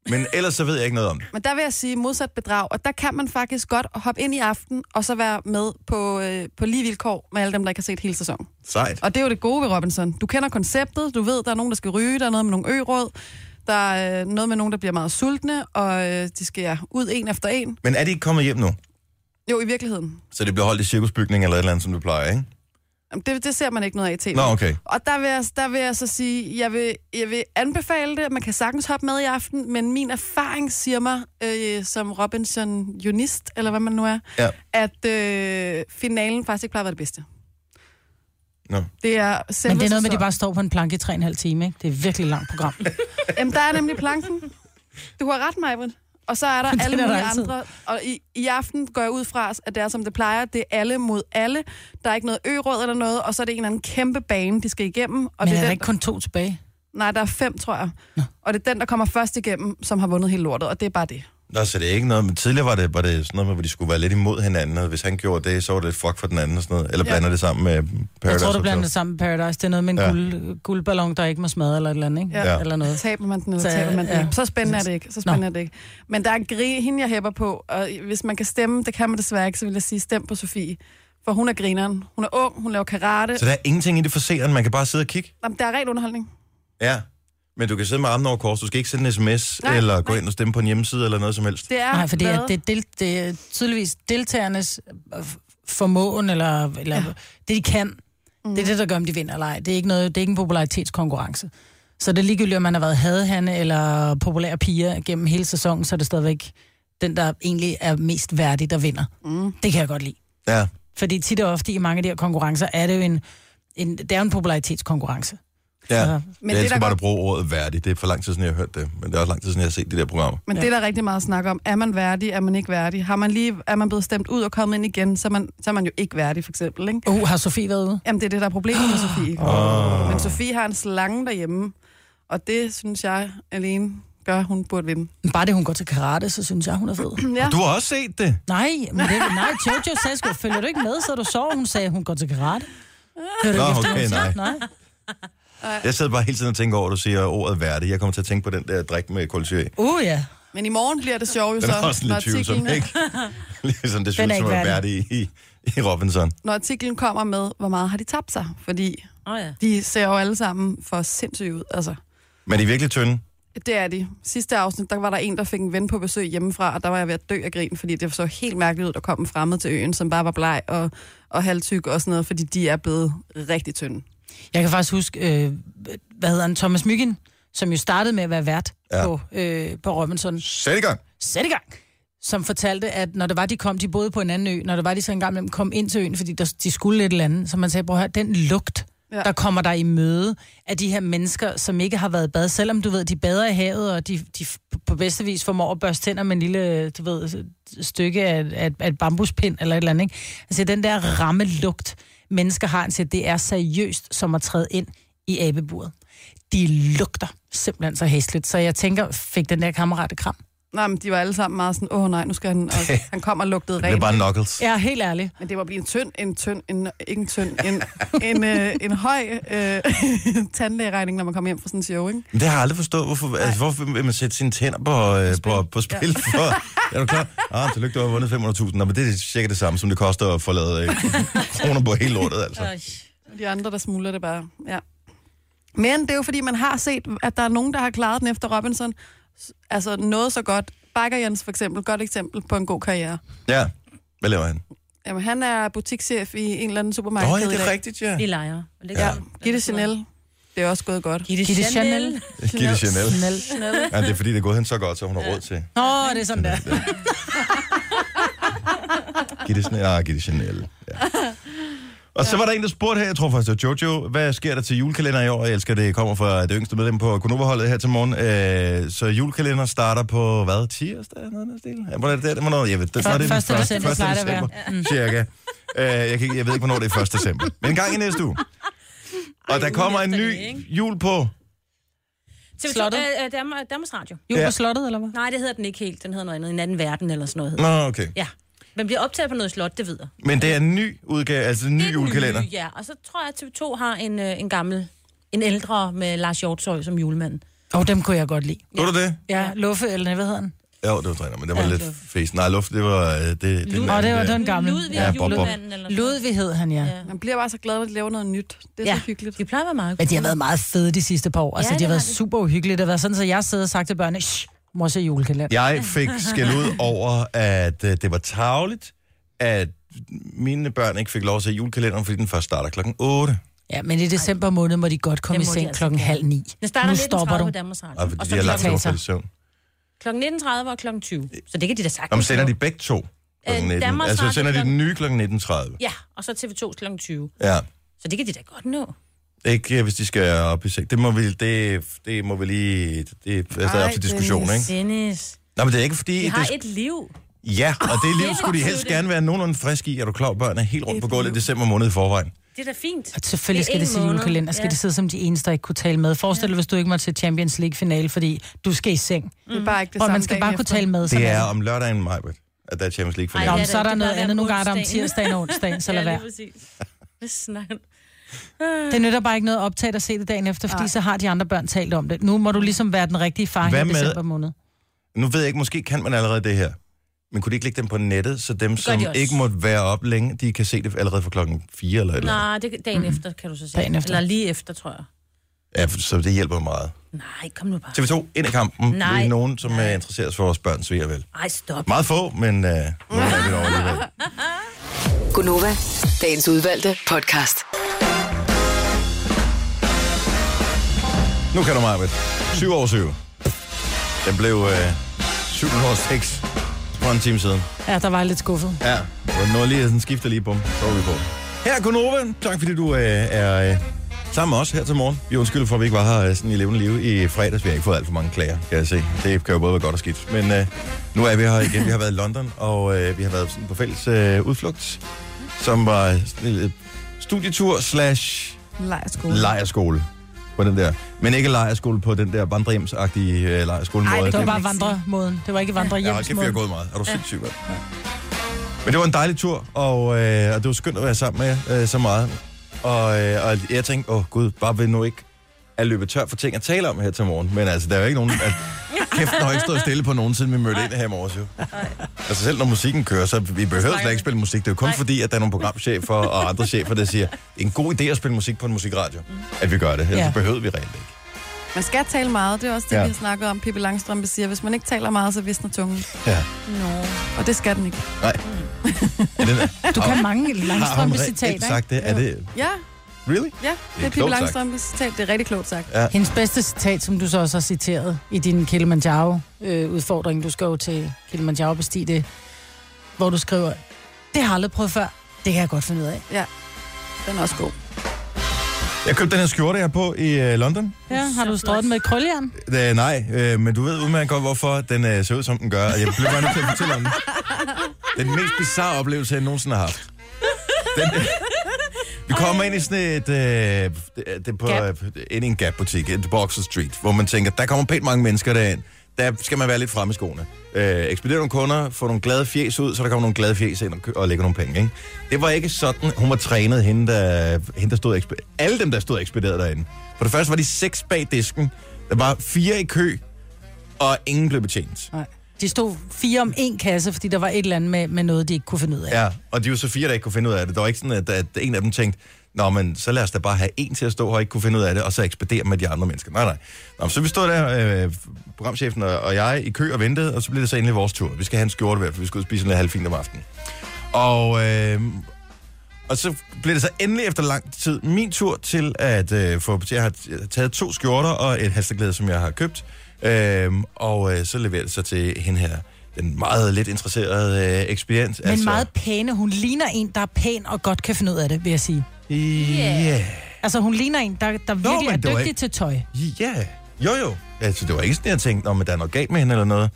A: Men ellers så ved jeg ikke noget om det.
D: men der vil jeg sige modsat bedrag, og der kan man faktisk godt hoppe ind i aften, og så være med på, øh, på lige vilkår med alle dem, der ikke har set hele sæsonen.
A: Sejt.
D: Og det er jo det gode ved Robinson. Du kender konceptet, du ved, der er nogen, der skal ryge, der er noget med nogle øråd, der er øh, noget med nogen, der bliver meget sultne, og øh, de skal ja, ud en efter en.
A: Men er de ikke kommet hjem nu?
D: Jo, i virkeligheden.
A: Så det bliver holdt i cirkusbygningen eller et eller andet, som du plejer, ikke?
D: Jamen, Det, det ser man ikke noget af i tv.
A: Nå, okay.
D: Og der vil, jeg, der vil jeg så sige, jeg vil, jeg vil anbefale det. Man kan sagtens hoppe med i aften, men min erfaring siger mig, øh, som Robinson-junist, eller hvad man nu er,
A: Ja.
D: at øh, finalen faktisk ikke plejer at være det bedste.
A: Nå.
D: Det er
C: Men det er noget med, at de bare står på en planke i 3,5 time, ikke? Det er et virkelig langt program.
D: Jamen, der er nemlig planken. Du har ret, Majbrit. Og så er der alle
C: er der
D: mulige
C: altid.
D: andre. Og i, i aften går jeg ud fra, at det er, som det plejer. Det er alle mod alle. Der er ikke noget øråd eller noget, og så er det en eller anden kæmpe bane, de skal igennem. Og
C: Men
D: det
C: er
D: er
C: der
D: den,
C: ikke kun to tilbage?
D: Nej, der er fem, tror jeg. Og det er den, der kommer først igennem, som har vundet hele lortet, og det er bare det.
A: Nå, så det er ikke noget, men tidligere var det, var det sådan noget med, hvor de skulle være lidt imod hinanden, og hvis han gjorde det, så var det et fuck for den anden og sådan noget. Eller
D: Ja.
A: blander det sammen med
C: Jeg
A: Paradise
C: tror, du blander
A: Hotel.
C: det sammen med Paradise. Det er noget med en
A: Ja.
C: ja. guld, guldballon, der ikke må smadre eller et eller andet, ikke?
D: Ja.
C: Eller noget.
D: Taber man den, eller
C: Så,
D: taber man den.
C: ja.
D: ikke. Så spændende er det ikke. Så spændende er det ikke. Men der er en gri, hende, jeg hæpper på, og hvis man kan stemme, det kan man desværre ikke, så vil jeg sige, stem på Sofie. For hun er grineren. Hun er ung, hun laver karate.
A: Så der er ingenting i det for seeren, man kan bare sidde og kigge?
D: Jamen, der er ren underholdning.
A: Ja. Men du kan sidde med armen over kors, du skal ikke sende en sms, nej,
D: Nej,
A: eller gå
D: nej.
A: ind og stemme på en hjemmeside, eller noget som helst.
D: Det er
C: Nej, fordi at
D: hvad?
C: det, er del, det er tydeligvis deltagernes øh, f- formåen, eller, eller ja. det, de kan. Mm. Det er det, der gør, om de vinder eller ej. Det er ikke, noget, det er ikke en popularitetskonkurrence. Så det er ligegyldigt, om man har været hadehanne eller populær piger gennem hele sæsonen, så er det stadigvæk den, der egentlig er mest værdig, der vinder. Mm. Det kan jeg godt lide.
A: Ja.
C: Fordi tit og ofte i mange af de her konkurrencer, er det jo en, en, det er jo en popularitetskonkurrence.
A: Ja.
C: Ja.
A: Men
D: Men
A: jeg
D: det,
A: elsker
D: der
A: bare
D: godt-
A: at bruge ordet værdig. Det er for lang tid siden, jeg har hørt det. Men det er også lang tid siden, jeg har set de der programmer.
D: Men ja. det er der rigtig meget snak om. Er man værdig? Er man ikke værdig? Har man lige, er man blevet stemt ud og kommet ind igen, så er man, så er man jo ikke værdig, for eksempel. Ikke?
C: Uh, har Sofie været ude?
D: Jamen, det er det, der er problemet med Sofie.
A: Ah.
D: Oh. Men Sofie har en slange derhjemme, og det, synes jeg, alene gør, at hun burde vinde.
C: Men Bare det, hun går til karate, så synes jeg, hun er fed.
D: Ja.
A: Du har også set det.
C: Nej, men det, nej, Jojo sagde sgu, følger du ikke med, så du sover? Hun sagde, hun går til karate. Hører du
A: Nå,
C: ikke efter,
A: okay,
C: hun siger?
A: nej.
C: nej.
A: Jeg sad bare hele tiden og tænkte over, at du siger ordet værdig. Jeg kommer til at tænke på den der drik med kulsyre.
C: Uh, ja.
D: Men i morgen bliver det sjovt, jo
A: Den
D: så,
A: er også
D: når,
A: lidt tvivlsom,
D: artiklen,
A: ikke? ligesom det
C: Den
A: synes,
C: er
A: som
C: ikke
A: er værdig i, i Robinson.
D: når artiklen kommer med, hvor meget har de tabt sig? Fordi
B: Åh oh, ja.
D: de ser jo alle sammen for sindssygt ud. Altså,
A: Men de er virkelig tynde.
D: det er de. Sidste afsnit, der var der en, der fik en ven på besøg hjemmefra, og der var jeg ved at dø af grin, fordi det så helt mærkeligt ud, at der kom en fremmed til øen, som bare var bleg og, og halvtyk og sådan noget, fordi de er blevet rigtig tynde.
C: Jeg kan faktisk huske, øh, hvad hedder han, Thomas Myggen, som jo startede med at være vært
A: Ja.
C: ja. på, øh, på Robinson.
A: Sæt i gang.
C: sæt i gang, som fortalte, at når det var, de kom, de boede på en anden ø, når det var, de så engang imellem kom ind til øen, fordi der, de skulle et eller andet, så man sagde, prøv at høre, den lugt,
D: Ja.
C: ja. der kommer der i møde af de her mennesker, som ikke har været i bad, selvom du ved, de bader i havet, og de, de f- på bedste vis formår at børste tænder med en lille, du ved, stykke af, af, af et bambuspind eller et eller andet, ikke? Altså den der ramme lugt, mennesker har, altså, det er seriøst som at træde ind i abeburet. De lugter simpelthen så hæsligt, så jeg tænker, fik den der kammerat et kram?
D: Nej, men de var alle sammen meget sådan, åh nej, nu skal han, og han kom og lugtede
A: Det er
D: rent.
A: bare knuckles.
C: Ja, helt ærligt.
D: Men det var blive en tynd, en tynd, en, ikke en tynd, en, en, øh, en høj øh, tandlægeregning, når man kommer hjem fra sådan en show, ikke?
A: Men det har jeg aldrig forstået. Hvorfor, altså, hvorfor vil man sætte sine tænder på, øh, på, på spil? For, er du klar? Ah, tillykke, du har vundet 500.000. Nå, men det er cirka det samme, som det koster at få lavet øh, kroner på hele lortet, altså.
D: Og de andre, der smuldrer det bare, ja. Men det er jo fordi, man har set, at der er nogen, der har klaret den efter Robinson. S- Altså noget så godt. Bakker Jens for eksempel, godt eksempel på en god karriere.
A: Ja. Hvad laver han?
D: Jamen, han er butikschef i en eller anden supermarked.
A: Nå, ja,
D: i
A: det er
D: dag.
A: rigtigt, ja.
B: De lejer. Og det
A: Ja.
B: gør-
D: Gitte Chanel, det er også gået godt.
B: Gitte,
C: Gitte
B: Chanel.
C: Chanel.
A: Gitte Chanel.
C: Chanel.
A: Ja, det er fordi, det er gået hen så godt, så hun har råd til.
C: Åh, oh, det er sådan der.
A: Gitte Chanel. Ah, Gitte Chanel. Ja. Og så var der en, der spurgte her, jeg tror faktisk, det var Jojo, hvad sker der til julekalender i år? Jeg elsker, det kommer fra det yngste medlem på Konoverholdet her til morgen. Øh, så julekalender starter på, hvad, tirsdag? Noget af den stil? Ja, hvornår er det der? Hvornår, jeg ved, det, hvornår er det den
C: Første december plejer det at være.
A: december, cirka. Øh, jeg, kan, ikke- jeg ved ikke, hvornår det er 1. december. Men en gang i næste uge. Og der
B: ugen
A: kommer en
B: efter
A: ny
B: det, ikke?
A: jul på.
B: TV2,
C: Slottet.
B: øh, øh, Danmark- Danmarks Radio.
C: Jul
A: Ja.
C: på slottet, eller hvad?
B: Nej, det hedder den ikke helt. Den hedder noget andet. En anden verden eller sådan noget. hedder
A: Nå, okay.
B: den. Ja. Men bliver optaget på noget slot, det ved jeg.
A: Men det er en ny udgave, altså en
B: Det er
A: ny
B: den
A: julekalender.
B: nye, Ja, og så tror jeg, at TV2 har en, øh, en gammel, en ældre med Lars Hjortøj som julemand.
C: Åh, oh, dem kunne jeg godt lide.
A: Tror du det?
C: Ja, Luffe, eller hvad hedder han?
A: Jo, det var træner, men det var
B: Ja,
A: lidt
B: det var-
A: fæs. Nej, luft, det var... øh, Det, det, den
C: Åh,
A: anden
C: det var
A: der.
C: den gamle.
B: Ludvig
A: Ja,
B: ja,
A: Bob Bob.
B: julemanden eller sådan noget.
C: Ludvig hed han, ja.
B: Ja.
D: Man bliver bare så glad, at de laver noget nyt. Det er ja.
B: Ja,
D: så hyggeligt.
B: de plejer at være meget
C: Men
B: gode.
C: de har været meget fede de sidste par år. Altså,
B: Ja,
C: ja, de har
B: det
C: været
B: har de.
C: super uhyggelige. Det har været sådan, at jeg sidder og sagt til børnene, shh, mor ser julekalender.
A: Jeg fik skæld ud over, at øh, det var tavligt, at mine børn ikke fik lov til julekalenderen, fordi den først starter klokken 8.
C: Ja, men i december måned må de godt komme i
B: Det må de
C: seng
B: altså
C: klokken
B: gerne.
C: halv ni.
B: Den starter
C: Nu
B: 19.30
C: stopper du.
B: på Danmarks Radio.
A: Og fordi
B: Og
A: de har lagt
B: så
A: sig over
C: diktator.
A: for søvn.
B: klokken 19.30 og klokken 20. Så det kan de da sagtens.
A: Nå, men sender
B: nå.
A: de begge to klokken
B: Øh,
A: 19.
B: Danmarks
A: Altså,
B: Radio
A: sender de den
B: klokken-
A: nye klokken 19.30.
B: Ja, og så TV2 klokken 20.
A: Ja.
B: Så det kan de da godt nå.
A: Ikke øh, hvis de skal op i seng. Det må vi, det, det må vi lige... Det er stadig op til diskussion, ikke?
B: Dennis,
A: Nej, men det er ikke fordi...
B: de
A: det,
B: har et liv.
A: Ja, og det liv
B: Det
A: skulle de
B: betyder
A: helst
B: det.
A: gerne være nogenlunde friske i. Er du klar, børn er helt rundt på gulvet i december måned i forvejen.
B: Det er da fint.
C: Og selvfølgelig skal
B: er
C: det
B: en
C: sidde i
B: måned.
C: julekalender. Skal
B: Ja.
C: det sidde som de eneste, der ikke kunne tale med? Forestil dig, hvis du ikke måtte til Champions League-finale, fordi du skal i
B: Mm.
C: seng.
D: Det er bare ikke det
C: Og
D: samme
C: man skal
D: dagen
C: bare kunne
D: efter.
C: tale med. sådan
A: Det er
C: det.
A: om lørdagen, Majbert, at der er Champions League
B: Ej,
A: finale.
B: det
C: Nå,
B: er
C: så er
B: det.
C: der
B: Det
C: noget
B: bare
C: andet.
B: være
C: Nu er der om
B: onsdagen.
C: tirsdagen og onsdagen, så lad
B: Ja,
C: være.
B: lige præcis. Hvad snakker du?
C: Det nytter bare ikke noget at optage dig og se det dagen efter, fordi så har de andre børn talt om det. Nu må du ligesom være den rigtige far her
A: Hvad
C: i
A: med-
C: december måned.
A: Nu ved jeg ikke, måske kan man allerede det her. Men kunne de ikke lægge dem på nettet, så dem, som
B: de også.
A: ikke måtte være op længe, de kan se det allerede fra klokken 4 eller et eller andet.
B: Nej, det er dagen efter, kan du så sige.
C: Mm. Dagen efter.
B: Eller lige efter, tror jeg.
A: Ja, for- så det hjælper meget.
B: Nej, kom nu bare.
A: TV2, ind i kampen.
B: Nej.
A: Det er nogen, som er interesseret for vores børn, så jeg vel.
B: Ej, stop.
A: Meget få, men øh, nogen er vi over alligevel.
F: Gunova, dagens udvalgte podcast.
A: Nu kan du mig, med 7 over 7. Den blev øh, 7 over 6 for en time siden.
C: Ja, der var jeg lidt skuffet.
A: Ja, og når lige sådan skifter lige bum, så er vi på. Her er Gunova. Tak fordi du øh, er øh, sammen med os her til morgen. Vi undskylder for, at vi ikke var her øh, sådan i levende liv i fredags. Vi har ikke fået alt for mange klager, kan jeg se. Det kan jo både være godt og skidt. Men øh, nu er vi her igen. Vi har været i London, og øh, vi har været sådan på fælles øh, udflugt, som var sådan en, øh, studietur slash
D: Lejrskole.
A: lejerskole på den der. Men ikke lejerskole på den der vandrehjemsagtige øh, lejerskole.
D: Ej,
C: Det var bare
D: kan man ikke
C: vandremåden. Det var ikke
A: Ja, hold kæft, vi har
C: vandrehjemsmåden.
A: gået meget. Er du sindssyg, mand? Men det var en dejlig tur, og, øh, og det var skønt at være sammen med jer øh, så meget. Og, øh, og jeg tænkte, åh oh, gud, bare vil nu ikke at løbe tør for ting at tale om her til morgen. Men altså, der er jo ikke nogen... At, kæft, den har ikke stået stille på nogen, siden vi mødte ind her i morges, jo. Altså selv når musikken kører, så vi behøver slet ikke spille musik. Det er jo kun fordi, at der er nogle programchefer og andre chefer, der siger, det er en god idé at spille musik på en musikradio, at vi gør det. Ellers
C: Ja.
A: ja. behøver vi reelt ikke.
D: Man skal tale meget. Det er også det,
A: Ja.
D: ja. vi har snakket om. Pippi Langstrømpe siger, hvis man ikke taler meget, så visner tungen.
A: Ja.
D: Og det skal den ikke.
A: Nej. Er det,
C: Du kan mange
A: har hun
C: langstrømpe
A: reelt
C: citater, ikke?
A: sagt det? Er det...
D: Ja,
A: Really?
D: ja. Det er Pippi
A: klogt sagt.
D: Langstrømpes citat. Det er rigtig klogt sagt.
C: Hendes bedste citat, som du så også har citeret i din Kilimanjaro-udfordring, du skal jo til Kilimanjaro bestige det, hvor du skriver, det har jeg aldrig prøvet før, det kan jeg godt finde ud af.
D: Ja. Den er også god.
A: Jeg købte den her skjorte, jeg har på i øh, London.
C: Ja, har du strået den med et krøljern?
A: Øh, nej, øh, men du ved udmærket godt, hvorfor den øh, ser ud, som den gør. og Jeg blev bare nødt til at fortælle om den. Den mest bizarre oplevelse, jeg nogensinde har haft. Den, øh, vi kommer ind i sådan et... Øh, det, det er på, øh,
C: Gap.
A: ind i en Gap-butik, et Boxer Street, hvor man tænker, der kommer pænt mange mennesker derind. Der skal man være lidt fremme i skoene. Øh, ekspedere nogle kunder, få nogle glade fjes ud, så der kommer nogle glade fjes ind og, kø- og lægger nogle penge. Ikke? Det var ikke sådan, hun var trænet, hende der, hende, der stod ekspederet. Alle dem, der stod ekspederet derinde. For det første var de seks bag disken. Der var fire i kø, og ingen blev betjent.
C: Nej. De stod fire om en kasse, fordi der var et eller andet med, med noget, de ikke kunne finde ud af.
A: Ja, og de var så fire, der ikke kunne finde ud af det. Der var ikke sådan, at, at en af dem tænkte, Nå, men så lad os da bare have en til at stå her og ikke kunne finde ud af det, og så ekspedere med de andre mennesker. Nej, nej. Nå, men så vi stod der, øh, programchefen og, og jeg, i kø og ventede, og så blev det så endelig vores tur. Vi skal have en skjorte hver, for vi skal ud og spise noget halvfint om aftenen. Og, øh, og så blev det så endelig efter lang tid min tur til at øh, få... Jeg har taget to skjorter og et halsteglæde, som jeg har købt. Øh, og øh, så leverer det så til hende her, den meget lidt interesserede øh, ekspedient.
C: Men altså... meget pæne. Hun ligner en, der er pæn og godt kan finde ud af det, vil jeg sige.
A: Ja.
C: Altså, hun ligner en, der, der virkelig
A: men
C: er
A: det var
C: dygtig
A: ikke-
C: til tøj.
A: Ja. Jo, jo. Altså, det var ikke sådan, jeg tænkte, om der er noget galt med hende eller noget.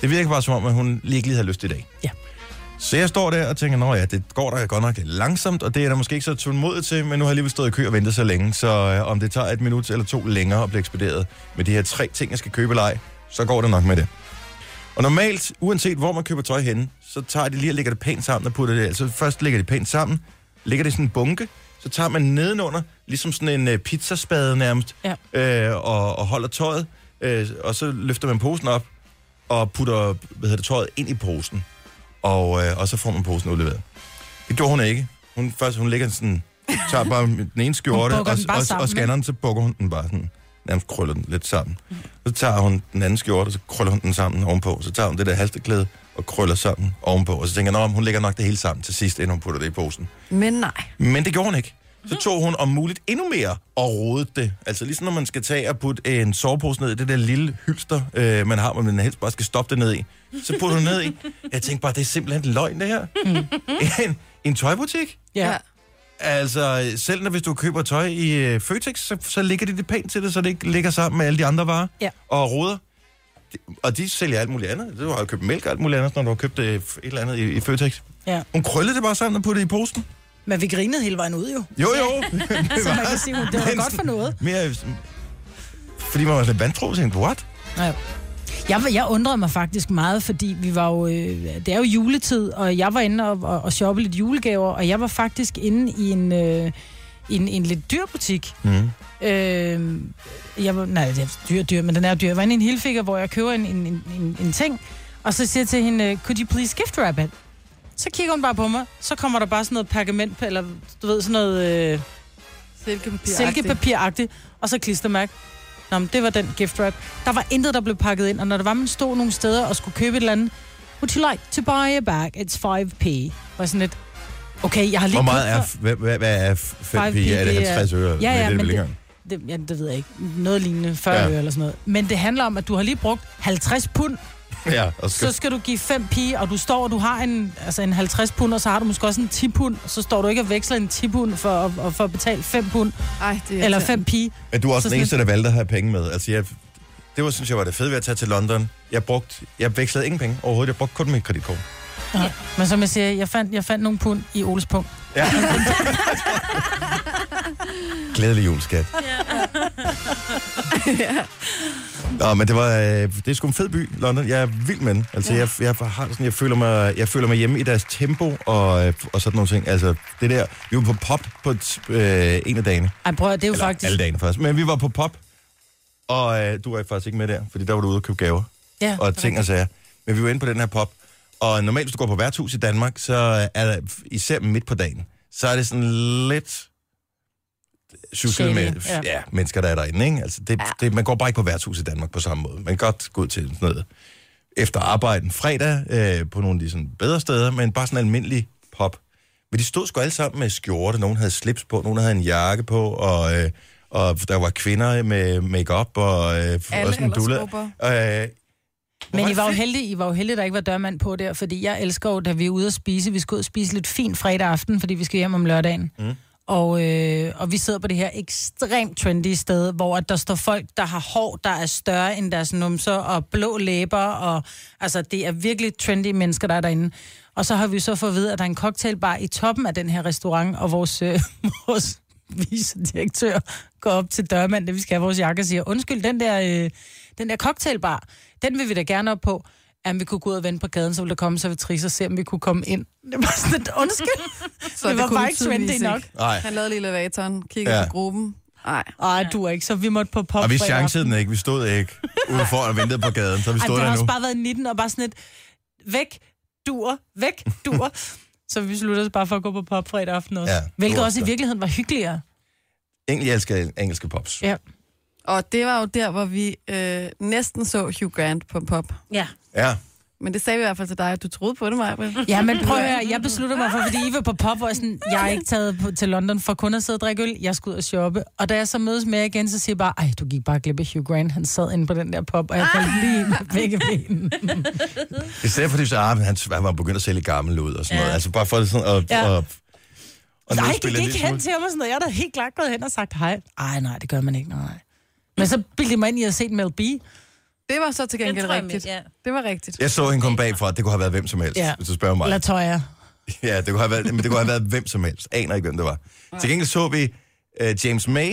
A: Det virker bare som om, at hun lige ikke lige havde lyst i dag.
C: Ja.
A: Så jeg står der og tænker, nå ja, det går da godt nok lidt langsomt, og det er der måske ikke så tålmodig til, men nu har jeg alligevel stået i kø og ventet så længe, så øh, om det tager et minut eller to længere at blive ekspederet med de her tre ting, jeg skal købe eller ej, så går det nok med det. Og normalt, uanset hvor man køber tøj henne, så tager de lige og lægger det pænt sammen og putter det, altså først lægger de pænt sammen, lægger det i sådan en bunke, så tager man nedenunder, ligesom sådan en øh, pizzaspade nærmest, øh, og, og holder tøjet, øh, og så løfter man posen op og putter hvad hedder det, tøjet ind i posen, og, øh, og så får man posen udleveret. Det gjorde hun ikke. Hun, først, hun lægger sådan, tager bare den ene skjorte,
C: bukker
A: og,
C: den bare
A: og, og
C: sammen,
A: scanner den, så bukker hun den bare sådan, nærmest krøller den lidt sammen. Så tager hun den anden skjorte, og så krøller hun den sammen ovenpå, så tager hun det der halsteklæde, og krøller sammen ovenpå. Og så tænker jeg, "Nå, men hun lægger nok det hele sammen til sidst, inden hun putter det i posen.
D: Men nej.
A: Men det gjorde hun ikke. Så tog hun om muligt endnu mere og rodede det. Altså ligesom når man skal tage og putte en sovepose ned i det der lille hylster, øh, man har, hvor man helst bare skal stoppe det ned i. Så putter hun ned i. Jeg tænkte bare, det er simpelthen løgn det her.
C: Mm.
A: En, en tøjbutik?
C: Ja.
D: Ja.
C: ja.
A: Altså, selv når hvis du køber tøj i øh, Føtex, så, så ligger de det pænt til det, så det ikke ligger sammen med alle de andre varer
C: Ja.
A: og roder. Det- Og de sælger alt muligt andet. Du har jo købt mælk og alt muligt andet, når du har købt øh, et eller andet i, i Føtex.
C: ja.
A: Hun krøllede det bare sammen og puttede det i posen.
C: Men vi grinede hele vejen ud jo.
A: Jo, jo. det
C: Så Altså, man kan sige, at det var godt for noget.
A: mere... øh, Fordi man var lidt vantro, og tænkte, what?
C: Ja. Jeg, var- jeg undrede mig faktisk meget, fordi vi var jo, øh, det er jo juletid, og jeg var inde og, og, og shoppe lidt julegaver, og jeg var faktisk inde i en, øh, en, en lidt dyr butik.
A: Mm.
C: Øh, jeg var, nej, det er dyr, dyr, men den er dyr. Jeg var inde i en hilfiger, hvor jeg køber en, en, en, en, en ting, og så siger jeg til hende, øh, could you please gift wrap it? Så kigger hun bare på mig, så kommer der bare sådan noget pergament, eller du ved, sådan noget øh,
D: Silkepapir.
C: silkepapiragtigt, og så klistermærke. Nå, men det var den gift wrap. Der var intet, der blev pakket ind, og når der var, man stod nogle steder og skulle købe et eller andet, would you like to buy a bag? It's 5p. Var sådan lidt, okay, jeg har lige
A: Hvor meget
C: købt
A: er,
C: for-
A: hvad, hvad, hvad er 5
C: 5p?
A: pi? Er det
C: Det er-
A: 50 øre?
C: Ja, ja,
A: det er det
C: men
A: vel
C: det-
A: ikke engang.
C: det, ja, det ved jeg ikke, noget lignende 40
A: Ja.
C: ja. øre eller sådan noget. Men det handler om, at du har lige brugt 50 pund,
A: Ja, og skal,
C: så skal du give 5 pige, og du står, og du har en, altså en 50 pund, og så har du måske også en 10 pund, og så står du ikke og veksler en 10 pund for, og, og for at betale 5 pund,
D: Ej, det er
C: eller
D: irriterende.
C: 5 pige.
A: men du er også
C: så
A: den
C: sådan-
A: eneste, der valgte at have penge med. Altså, jeg, det var, synes jeg, var det fede ved at tage til London. Jeg, brugte, jeg vekslede ingen penge overhovedet. Jeg brugte kun mit kreditkort.
C: Men som jeg siger, jeg fandt, jeg fandt nogle pund i Oles punkt.
A: Ja. Glædelig jul, skat. Nå, men det var, øh, det er sgu en fed by, London. Jeg er vild med den. Altså, ja. jeg, jeg, har sådan, jeg, føler mig, jeg føler mig hjemme i deres tempo og, øh, og sådan nogle ting. Altså, det der, vi var på pop på et, øh, en af dagene.
C: Ej, prøv at- det er jo
A: Eller
C: faktisk...
A: alle dagene faktisk. Men vi var på pop, og øh, du var faktisk ikke med der, fordi der var du ude og købe gaver
C: Ja,
A: og ting og sager. Men vi var inde på den her pop. Og normalt, hvis du går på værtshus i Danmark, så er der, især midt på dagen, så er det sådan lidt sjusket med
C: Shady,
A: ja.
C: ja.
A: Ja, mennesker, der er derinde. Ikke? Altså det, det, man går bare ikke på værtshus i Danmark på samme måde. Man kan godt gå ud til sådan noget efter arbejde en fredag øh, på nogle af de sådan bedre steder, men bare sådan en almindelig pop. Men de stod sgu alle sammen med skjorte. Nogen havde slips på, nogen havde en jakke på, og, øh, og der var kvinder med makeup og, øh,
D: Alle
A: og sådan dulle.
D: aldersgrupper.
A: Øh,
C: Men
A: Hvor
C: I var jo
A: fedt.
C: heldige, I var jo heldige, der ikke var dørmand på der, fordi jeg elsker jo, da vi er ude at spise. Vi skal ud og spise lidt fint fredag aften, fordi vi skal hjem om lørdagen. Mm. Og, øh, og vi sidder på det her ekstremt trendy sted, hvor at der står folk, der har hår, der er større end deres numser, og blå læber, og altså, det er virkelig trendy mennesker, der er derinde. Og så har vi så fået at vide, at der er en cocktailbar i toppen af den her restaurant, og vores, øh, vores vicedirektør går op til dørmanden, da vi skal have vores jakke, og siger, undskyld, den der, øh, den der cocktailbar, den vil vi da gerne op på. Jamen, vi kunne gå ud og vende på gaden, så ville der komme servitrice og se, om vi kunne komme ind. Det var sådan et undskyld.
D: Så
C: det var
D: kunne
C: bare
D: vi
C: ikke trendy
D: tydeligvis
C: nok.
D: ikke.
A: nej.
D: Han lavede lige elevatoren, kiggede
A: Ja.
D: ja. på gruppen. Nej.
C: Ej, du er ikke, så vi måtte på pop.
A: Og vi
C: fredag
A: chancede den ikke. Vi stod ikke ude foran og ventede på gaden, så vi
C: aften.
A: stod
C: Ej, det
A: der
C: har
A: nu.
C: også bare været 19 og bare sådan et, væk, dur, væk, dur. så vi besluttede os bare for at gå på pop fredag aften også.
A: Ja,
C: Ja,
A: det
C: hvilket
A: var
C: også i
A: godt.
C: virkeligheden var hyggeligere.
A: Egentlig elsker jeg engelske pops.
C: Ja.
D: Og det var jo der, hvor vi øh, næsten så Hugh Grant på pop.
B: Ja.
A: Ja.
D: Men det sagde vi i hvert fald til dig, at du troede på det, Maja.
C: Ja, men prøv at høre, jeg besluttede mig for, fordi I var på pop, og jeg sådan, jeg er ikke taget på, til London for kun at sidde og drikke øl, jeg skal ud og shoppe. Og da jeg så mødes med jer igen, så siger jeg bare, ej, du gik bare glip af Hugh Grant, han sad inde på den der pop, og jeg faldt lige med begge ben.
A: I stedet for det, så ah, men han, han var begyndt at sælge gammel ud og sådan ja. noget. Altså bare for det sådan at...
C: Ja.
A: Ja. Og, og
C: Nej,
A: nedspille
C: det
A: en
C: gik
A: lille
C: hen til ham og sådan noget. Jeg er da helt klart gået hen og sagt hej. Ej, nej, det gør man ikke, nej. Men så bildte jeg mig ind i at have set Mel B.
D: Det var så til
B: Den
D: gengæld
B: tror jeg,
D: rigtigt.
B: ja.
D: Det var rigtigt.
A: smule. Jeg så hende komme bagfra, det kunne have været hvem som helst, ja.
C: Ja.
A: hvis du spørger mig.
C: Eller tøjer.
A: Ja, det kunne have været, men det kunne have været hvem som helst. Aner ikke, hvem det var. Til gengæld så vi uh, James May,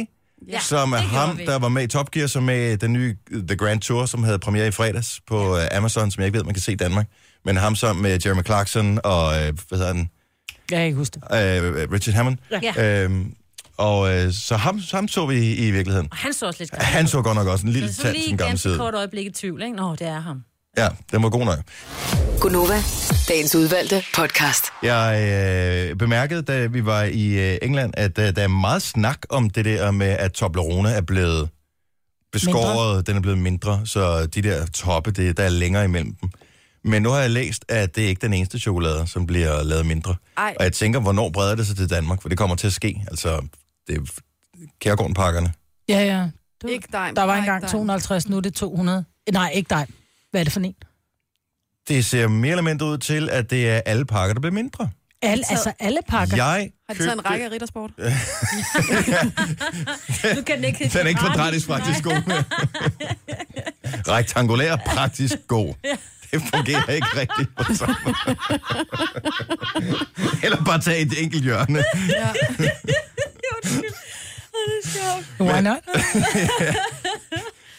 A: ja, som er
B: det gjorde
A: ham,
B: vi.
A: der var med i Top Gear, som med i den nye øh, The Grand Tour, som havde premiere i fredags på uh, Amazon, som jeg ikke ved, man kan se i Danmark. Men ham sammen med Jeremy Clarkson og, uh, hvad hedder han,
C: Jeg kan ikke huske det.
A: øh, Richard Hammond.
B: Ja.
A: Øhm, og øh, så ham, ham så vi i, i virkeligheden.
B: Og han så også lidt gammel.
A: Han så godt nok også en lille
B: Så
A: tand
B: lige
A: som
B: et
A: gammel
B: ganske
A: side.
B: kort øjeblik i tvivl, ikke? Nå, det er ham.
A: Ja, den var god nok.
F: Gunova, dagens udvalgte podcast.
A: Jeg øh, bemærkede, da vi var i øh, England, at øh, der er meget snak om det der med, at Toblerone er blevet beskåret, mindre. den er blevet mindre, så de der toppe, det, der er længere imellem dem. Men nu har jeg læst, at det er ikke den eneste chokolade, som bliver lavet mindre.
D: Ej.
A: Og jeg tænker, hvornår breder det sig til Danmark? For det kommer til at ske. Altså, det er Kærgården-pakkerne.
C: Ja, ja.
D: Ikke dig.
C: Der var engang 250, nu er det 200. Nej, ikke dig. Hvad er det for en?
A: Det ser mere eller mindre ud til, at det er alle pakker, der bliver mindre.
C: Alle, altså alle pakker.
A: Jeg
D: Har de taget en række af riddersport?
B: Nu kan den ikke hedde
A: Den er ikke
B: kvadrat.
A: kvadratisk praktisk god. Rektangulær praktisk god. Det fungerer ikke rigtigt på samme måde. Eller bare tage et enkelt hjørne.
C: Why not?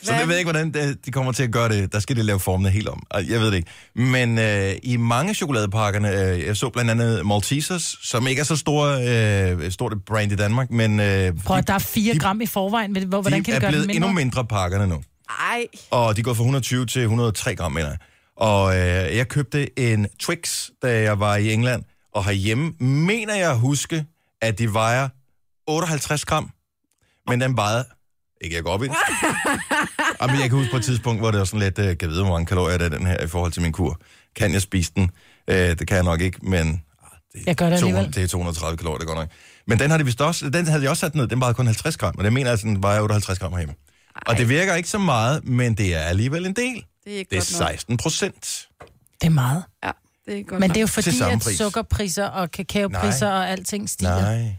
A: Så det ved jeg ikke, hvordan det- de kommer til at gøre det. Der skal de lave formene helt om. Og Jeg ved det ikke. Men øh, i mange af chokoladepakkerne, øh, jeg så blandt andet Maltesers, som ikke er så store, øh, stort et brand i Danmark, men øh, de,
C: Prøv at der er 4 gram i forvejen. men Hvor, hvordan
A: de
C: kan
A: er
C: det gøre
A: blevet
C: det mindre?
A: endnu mindre pakkerne nu.
D: Ej,
A: og de går fra 120 til 103 gram, mener jeg. Og øh, jeg købte en Twix, da jeg var i England, og herhjemme mener jeg at huske, at de vejer 58 gram, men den vejede, ikke jeg går op i det. Jamen, jeg kan huske på et tidspunkt, hvor det var sådan lidt, øh, kan jeg vide, hvor mange kalorier der er den her i forhold til min kur. Kan jeg spise den? Øh, det kan jeg nok ikke, men ah, det, er
C: Jeg gør det
A: 200
C: alligevel.
A: det er 230 kalorier, det går nok. Men den, har de vist også, den havde de også sat ned, den vejede kun 50 gram, og den mener jeg, sådan, den vejer 58 gram herhjemme. Og det virker ikke så meget, men det er alligevel en del.
D: det er ikke
A: Det er
D: godt nok.
A: 16 procent.
C: Det er meget.
D: Ja, det er ikke godt
C: Men
D: nok.
C: det er jo fordi,
A: samme
C: at
A: pris.
C: sukkerpriser og kakaopriser
A: Nej.
C: og alting stiger.
A: Nej,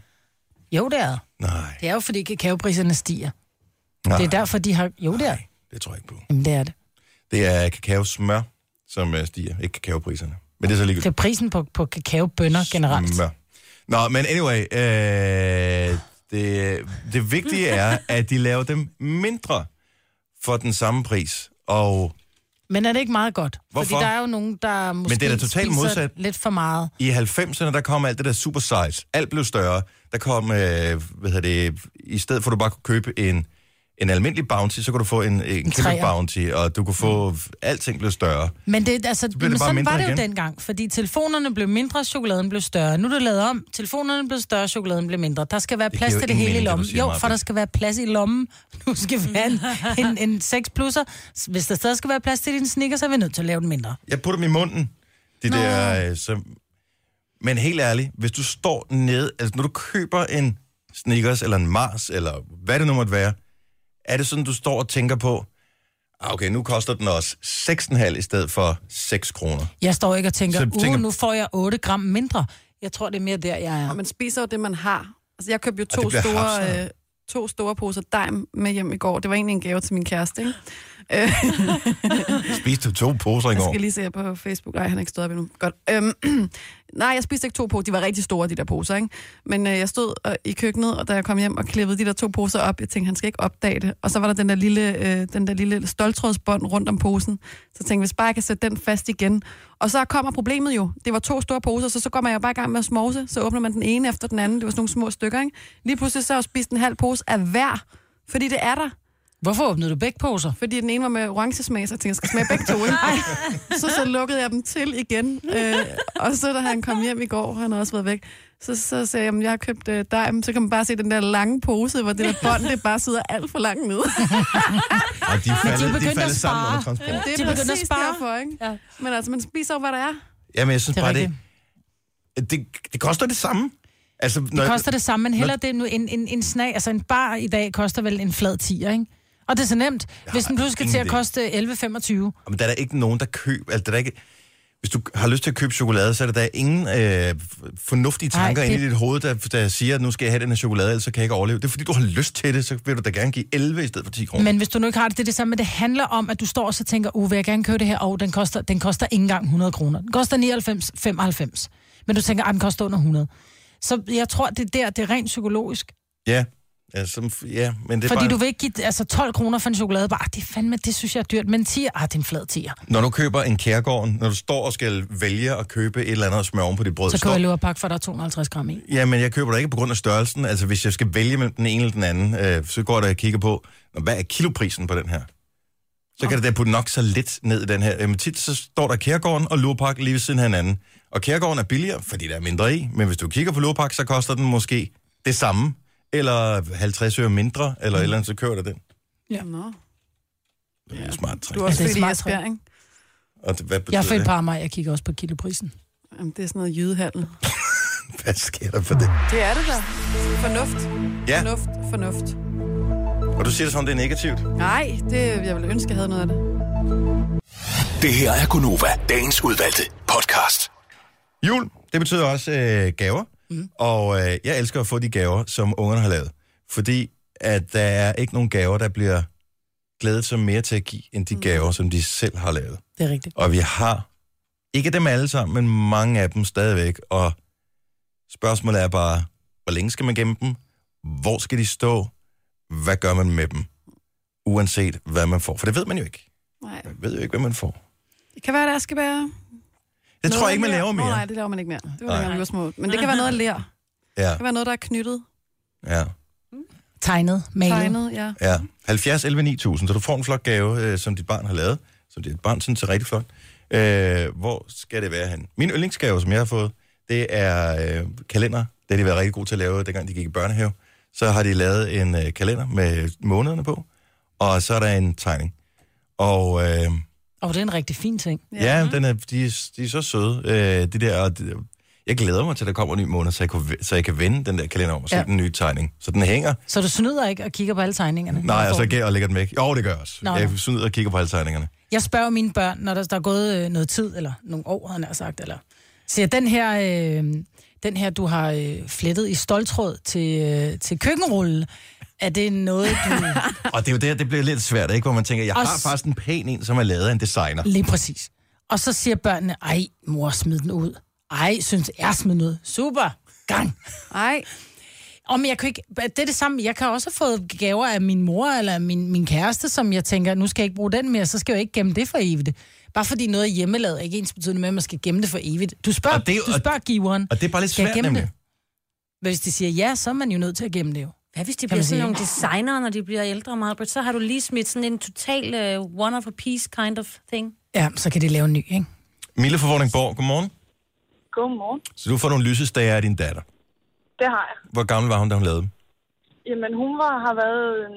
C: Jo, det er.
A: nej,
C: Det er jo fordi, kakaopriserne stiger.
A: nej.
C: Det er derfor, de har... Jo, det er.
A: Nej, det tror jeg ikke på.
C: Jamen, det er det.
A: Det er kakaosmør, som øh, stiger. Ikke kakaopriserne. Men det er så ligegyldigt.
C: Det er prisen på, på kakaobønner generelt.
A: Smør. Nå, men anyway, øh, det, det vigtige er, at de laver dem mindre for den samme pris. Og
C: Men er det ikke meget godt?
A: Hvorfor?
C: Fordi der er jo nogen, der måske
A: det er da totalt
C: spiser
A: modsat.
C: lidt for meget.
A: i 90'erne, der kom alt det der super size. Alt blev større. Der kom, øh, hvad hedder det, i stedet for at du bare kunne købe en, en almindelig bounty, så kunne du få en, en kæmpe
C: træer.
A: bounty, og du kunne få, alting blev større.
C: Men, det, altså,
A: bliver det bare
C: men sådan
A: mindre
C: var det jo
A: igen.
C: dengang, fordi telefonerne blev mindre, chokoladen blev større. Nu er det lavet om. Telefonerne blev større, chokoladen blev mindre. Der skal være
A: Det
C: plads
A: giver jo
C: til det
A: ingen
C: hele
A: mening,
C: i
A: det, du
C: lommen.
A: siger,
C: jo,
A: Maja.
C: for der skal være plads i lommen. Nu skal være en, en, en 6 plusser. Hvis der stadig skal være plads til din snikker, så er vi nødt til at lave den mindre.
A: Jeg putter dem i munden. De der, øh, så... Men helt ærligt, hvis du står ned, altså når du køber en Snickers eller en Mars, eller hvad det nu måtte være, er det sådan, du står og tænker på, "Ah, okay, nu koster den også 6,5 i stedet for 6 kroner.
C: Jeg står ikke og tænker,
A: Så
C: uh,
A: tænker-
C: tænker... nu får jeg 8 gram mindre. Jeg tror, det er mere der, jeg er.
D: Og man spiser jo det, man har. Altså, jeg købte jo
A: det
D: to
A: bliver
D: store,
A: hapset.
D: øh, to store poser dejm med hjem i går. Det var egentlig en gave til min kæreste, ikke?
A: Spiste du to poser i
D: Jeg
A: går?
D: skal lige se jer på Facebook. Nej, han er ikke stået op endnu. Godt. Øhm, nej, jeg spiste ikke to poser. De var rigtig store, de der poser, ikke? Men øh, jeg stod øh, i køkkenet, og da jeg kom hjem og klippede de der to poser op, jeg tænkte, han skal ikke opdage det. Og så var der den der lille, øh, den der lille stoltrådsbånd rundt om posen. Så tænkte jeg, hvis bare jeg kan sætte den fast igen. Og så kommer problemet jo. Det var to store poser, så så går man jo bare i gang med at småse. Så åbner man den ene efter den anden. Det var sådan nogle små stykker, ikke? Lige pludselig så har jeg spist en halv pose af hver, fordi det er der.
C: Hvorfor åbnede du begge poser?
D: Fordi den ene var med orange smag, så jeg tænkte, jeg skal smage begge to. Ikke? Så, så lukkede jeg dem til igen. Øh, og så da han kom hjem i går, han har også været væk, så, så sagde jeg, at jeg har købt øh, dig. Men Så kan man bare se den der lange pose, hvor det der bånd, det bare sidder alt for langt ned.
A: Ej, de
C: Ah, begyndte
A: faldet, de
C: at
A: faldet sammen
C: spare.
A: under transport.
D: Det
C: De begynder
D: er
C: at
D: præcis
C: spare.
D: derfor, ikke?
C: Ja.
D: Men altså, man spiser jo, hvad der er.
A: Jamen, jeg synes
C: Det er
A: bare,
C: rigtigt.
A: det, det, det koster det samme. Altså, når,
C: Det koster det samme, men heller det nu en, en, en snag, altså en bar i dag koster vel en flad 10'er, ikke? Og det er så nemt, hvis den pludselig skal
A: ingen
C: til at
A: idé.
C: koste 11,25.
A: Men der er da ikke nogen, der køber... Altså, der er ikke, hvis du har lyst til at købe chokolade, så er der da ingen øh, fornuftige
C: Ej,
A: tanker
C: det-
A: inde i dit hoved, der, der siger, at nu skal jeg have den her chokolade, ellers så kan jeg ikke overleve. Det er fordi, du har lyst til det, så vil du da gerne give 11 i stedet for 10 kroner. Men...
C: Men hvis du nu ikke har det, det er det samme, men det handler om, at du står og så tænker, uh, vil jeg gerne købe det her, og den koster, den koster ikke engang 100 kroner. Den koster 99,95. Men du tænker, at den koster under 100. Så jeg tror, det er der, det er rent psykologisk.
A: Ja, ja, som, ja, men det er
C: Fordi
A: bare...
C: du vil ikke give altså 12 kroner for en chokoladebar. Ah, Det er fandme, det synes jeg er dyrt. Men 10, ah, det er en flad 10'er.
A: Når du køber en kærgården, når du står og skal vælge at købe et eller andet og smøre oven på dit brød,
C: Så
A: står-
C: køber jeg løberpakke, for der er 250 gram i.
A: Ja, men jeg køber det ikke på grund af størrelsen. Altså, hvis jeg skal vælge mellem den ene eller den anden, øh, så går jeg da og kigger på, "Nå, hvad er kiloprisen på den her? Så kan det da putte nok så lidt ned i den her. Jamen, tit så står der Kærgården og Lurpak lige ved siden af hinanden. Og Kærgården er billigere, fordi der er mindre i. Men hvis du kigger på Lurpak, så koster den måske det samme. Eller 50 øre mindre, eller et eller andet, så kører der den.
D: Nå.
A: Det er smart træk.
D: Du er også
C: Ja, det er
D: født i
C: smart,
D: Esbjerg, ikke?
A: Og det, hvad betyder
C: Jeg er født
A: det?
C: på Amager, jeg kigger også på kiloprisen.
D: Jamen, det er sådan noget jydehandel.
A: Hvad sker der for det?
D: Det er det da. Fornuft,
A: Ja,
D: fornuft, fornuft.
A: og du siger det sådan, det er negativt.
D: Nej, det, jeg ville ønske, jeg havde noget af det.
E: Det her er Gonova, dagens udvalgte podcast.
A: Jul, det betyder også øh, gaver. Mm. Og øh, jeg elsker at få de gaver, som ungerne har lavet. Fordi at der er ikke nogen gaver, der bliver glædet så mere til at give, end de gaver, som de selv har lavet.
C: Det er rigtigt.
A: Og vi har, ikke dem alle sammen, men mange af dem stadigvæk. Og spørgsmålet er bare, hvor længe skal man gemme dem? Hvor skal de stå? Hvad gør man med dem? Uanset hvad man får. For det ved man jo ikke.
D: Nej,
A: Man ved jo ikke, hvad man får.
D: det kan være, der skal være...
A: Det
D: Det
A: tror jeg ikke, man laver mere.
D: Nej, det laver man ikke mere. Det var
A: Nej.
D: dengang, vi var små. Men det kan være noget af lær.
A: Ja,
D: Det kan være noget, der er knyttet,
A: ja.
C: Tegnet, malet. Tegnet.
D: tegnet, ja.
A: Ja, 70 11 9000, så du får en flot gave, øh, som dit barn har lavet, som dit barn synes er rigtig flot. Øh, hvor skal det være hen? Min yndlingsgave, som jeg har fået, det er øh, kalender. Det har de været rigtig gode til at lave, dengang de gik i børnehave. Så har de lavet en øh, kalender med månederne på, og så er der en tegning. Og øh, ja,
C: Og det er en rigtig fin ting.
A: ja den er, de, er- de er så søde, øh, de der. Og de, jeg glæder mig til, at der kommer en ny måned, så jeg, kunne, v- så jeg kan vende den der kalender om og se ja.
C: Ja.
A: den nye tegning. Så den hænger
C: Så du snyder ikke og kigger på alle tegningerne?
A: Nej,
C: Jeg
A: altså
C: får
A: jeg gæ- og lægger den væk. Jo, det gør jeg også.
C: Nå,
A: jeg
C: nå.
A: snyder og kigger på alle tegningerne.
C: Jeg spørger mine børn, når der, der er gået øh, noget tid, eller nogle år, han har sagt, eller siger, den her, øh, den her, du har øh, flettet i stoltråd til, øh, til køkkenrulle, er det noget, du...
A: Og det er jo der, det bliver lidt svært, ikke? Hvor man tænker, jeg har
C: Og s-
A: faktisk en pæn en, som er lavet af en designer.
C: Lige præcis. Og så siger børnene, ej, mor, smid den ud. Ej, synes jeg, smid den ud. Super. Gang.
D: Ej,
C: Og men jeg kan ikke, det er det samme. Jeg kan også have fået gaver af min mor eller min, min kæreste, som jeg tænker, nu skal jeg ikke bruge den mere, så skal jeg jo ikke gemme det for evigt. Bare fordi noget er hjemmelavet, er ikke ens betydende med, at man skal gemme det for evigt. Du spørger,
A: Og det er
C: det,
A: jo-
C: du spørger giveren.
A: Og det er bare lidt
C: Skal jeg
A: svært,
C: gemme
A: nemlig.
C: Men hvis de siger ja, så er man jo nødt til at gemme det jo.
B: Hvad hvis de
C: man
B: bliver sådan
C: sige.
B: nogle designer, når de bliver ældre, Marbert? Så har du lige smidt sådan en total uh, one of a piece kind of thing.
C: Ja, så kan de lave en ny, ikke?
A: Mille fra Vordingborg, godmorgen.
I: Godmorgen.
A: Så du får nogle lysestager af din datter.
I: Det har jeg.
A: Hvor gammel var hun, da hun lavede dem?
I: Jamen, hun var, har været en,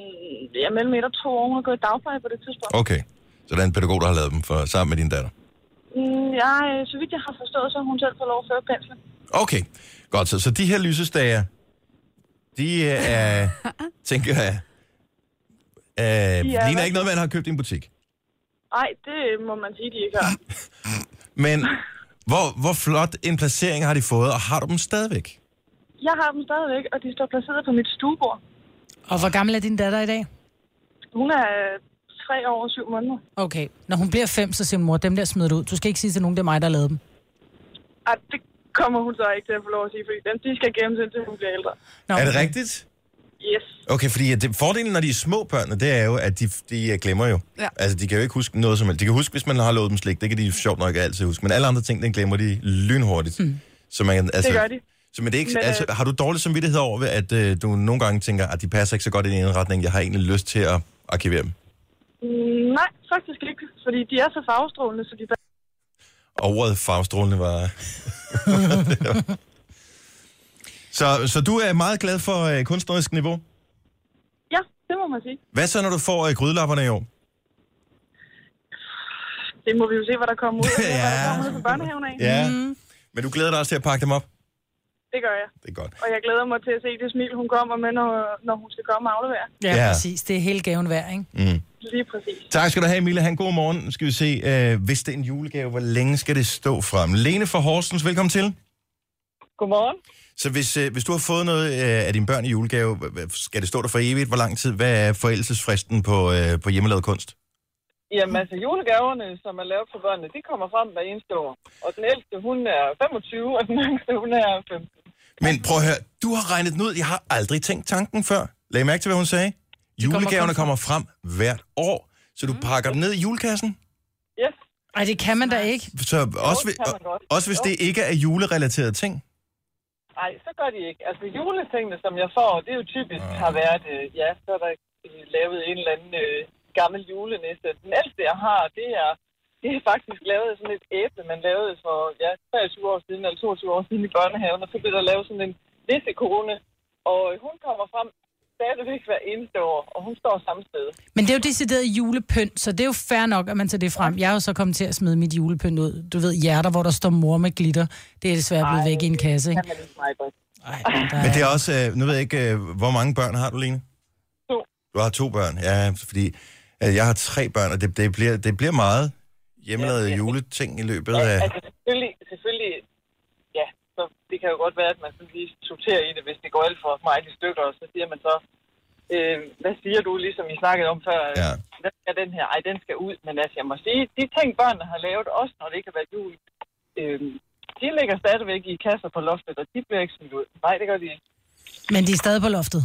I: ja, mellem et og to år. Hun har gået i dagpleje på det tidspunkt.
A: Okay. Så der er en pædagog, der har lavet dem for, sammen med din datter.
I: Mm, ja, øh, så vidt jeg har forstået, så har hun selv fået lov at føre penslen.
A: Okay. Godt, så, så de her lysestager, de øh, er, tænker jeg, øh, ligner ikke noget, man har købt i en butik.
I: Nej, det må man sige, de ikke har.
A: Men hvor, hvor flot en placering har de fået, og har du dem stadigvæk?
I: Jeg har dem stadigvæk, og de står placeret på mit stuebord.
C: Og hvor gammel er din datter i dag?
I: Hun er øh, tre år og syv måneder.
C: Okay, når hun bliver fem, så siger hun, mor, dem der smider du ud. Du skal ikke sige til nogen, det er mig, der lavede dem.
I: Ej, det kommer hun så ikke til at få lov at sige, fordi dem, de skal gemmes, indtil hun bliver ældre.
C: Nå,
A: Er det
C: okay.
A: rigtigt?
I: Yes.
A: Okay, fordi at det, fordelen, når de er små børn, det er jo, at de, de øh, glemmer jo.
D: Ja.
A: Altså, de kan jo ikke huske noget som helst. De kan huske, hvis man har lovet dem slik. Det kan de jo sjovt nok altid huske. Men alle andre ting, den glemmer de lynhurtigt. Mm. Så man, altså,
I: Hmm. gør de.
A: Så men det er ikke,
I: Men, øh,
A: altså, har du dårlig samvittighed over, at øh, du nogle gange tænker, at de passer ikke så godt ind i en retning, jeg har egentlig lyst til at arkivere dem?
I: Mm, nej, faktisk ikke, fordi de er så farvestrålende, så de
A: Og ordet farvestrålende var... så, så du er meget glad for øh, kunstnerisk niveau.
I: Ja, det må man sige.
A: Hvad så, når du får øh, grydelapperne i år?
I: Det må vi jo se, hvad der kommer ud af.
A: Ja.
I: Hvad der kommer ud fra børnehaven af.
A: Ja. Mm. Men du glæder dig også til at pakke dem op?
I: Det gør jeg.
A: Det er godt.
I: Og jeg glæder mig til at se det smil, hun kommer med, når, når hun skal komme og aflevere.
C: Ja,
A: Ja.
C: ja, præcis. Det er hele gaven værd, ikke?
I: Lige præcis.
A: Tak skal du have, Emilie. Han god morgen. Nu skal vi se, øh, hvis det er en julegave, hvor længe skal det stå frem? Lene fra Horsens, velkommen til.
I: Godmorgen.
A: Så hvis, øh, hvis du har fået noget øh, af dine børn i julegave, h- h- skal det stå der for evigt? Hvor lang tid? Hvad er forældelsesfristen på, øh, på hjemmelavet kunst?
I: Jamen altså, julegaverne, som er lavet for børnene, de kommer frem hver eneste år. Og den ældste, hun er 25, og den yngste, hun er 15.
A: Men prøv at høre, du har regnet den ud. Jeg har aldrig tænkt tanken før. Lag mærke til, hvad hun sagde. Julegaverne kommer frem hvert år, så
I: Mm.
A: du pakker dem ned i julekassen.
I: Yes,
A: Mm.
C: Ej, det kan man da ikke.
A: Så også,
I: det kan man
A: og-
I: godt.
A: også hvis
I: Jo.
A: det ikke er julerelaterede ting.
I: nej, så gør de ikke. Altså, juletingene, som jeg får, det er jo typisk har været, øh, ja, så er der øh, lavet en eller anden øh, gammel julenisse. Den ældste, jeg har, det er, det er faktisk lavet af sådan et æble, man lavede for, ja, 23 år siden eller 22 år siden i børnehaven, og så blev der lavet sådan en nissekorone, og øh, hun kommer frem stadigvæk hver eneste år, og hun står samme sted.
C: Men det er jo decideret julepynt, så det er jo fair nok, at man tager det frem. Jeg er jo så kommet til at smide mit julepynt ud. Du ved, hjerter, hvor der står mor med glitter. Det er desværre blevet væk i en kasse, ikke?
I: Kan man ikke mig godt.
C: Ej, der
A: Men det
C: er...
A: er også, øh, nu ved jeg ikke, øh, hvor mange børn har du, Line?
I: To.
A: Du har to børn, ja, fordi øh, jeg har tre børn, og det, det, bliver, det bliver meget hjemmelavede juleting i løbet af...
I: Altså selvfølgelig, selvfølgelig, ja, så det kan jo godt være, at man sådan lige sorterer i det, hvis det går alt for meget i stykker, og så siger man så, øh, hvad siger du, ligesom I snakkede om før,
A: Ja.
I: ja. hvad skal den her? Ej, den skal ud, men altså, jeg må sige, de ting, børnene har lavet, også når det ikke har været jul, øh, de ligger stadigvæk i kasser på loftet, og de bliver ikke smidt ud. Nej, det gør de ikke.
C: Men de er stadig på loftet.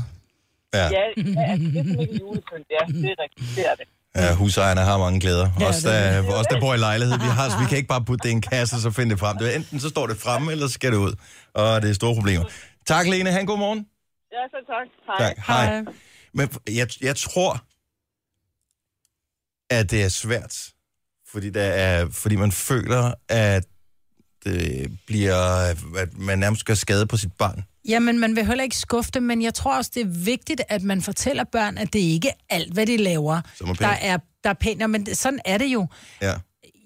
A: Ja,
I: Ja, ja altså, det er som ikke julepynt, ja, det er rigtigt, det er det.
A: ja husejerne har mange glæder.
C: Ja,
A: Os,
C: det
A: der, øh, os, der bor i lejlighed, vi, har, vi kan ikke bare putte det i en kasse og så finde det frem. Det, er enten så står det fremme, eller så skal det ud. Og det er store problemer. Tak, Lene. Ha' en god morgen.
I: Ja, så tak. Hej.
A: Tak. Hej. Men jeg, jeg tror, at det er svært, fordi, der er, fordi man føler, at det bliver, at man nærmest gør skade på sit barn.
C: Jamen, man vil heller ikke skuffe dem, men jeg tror også, det er vigtigt, at man fortæller børn, at det ikke er alt, hvad de laver,
A: Som er pænt.
C: der er, der er pænt. Jamen, det- sådan er det jo.
A: Ja.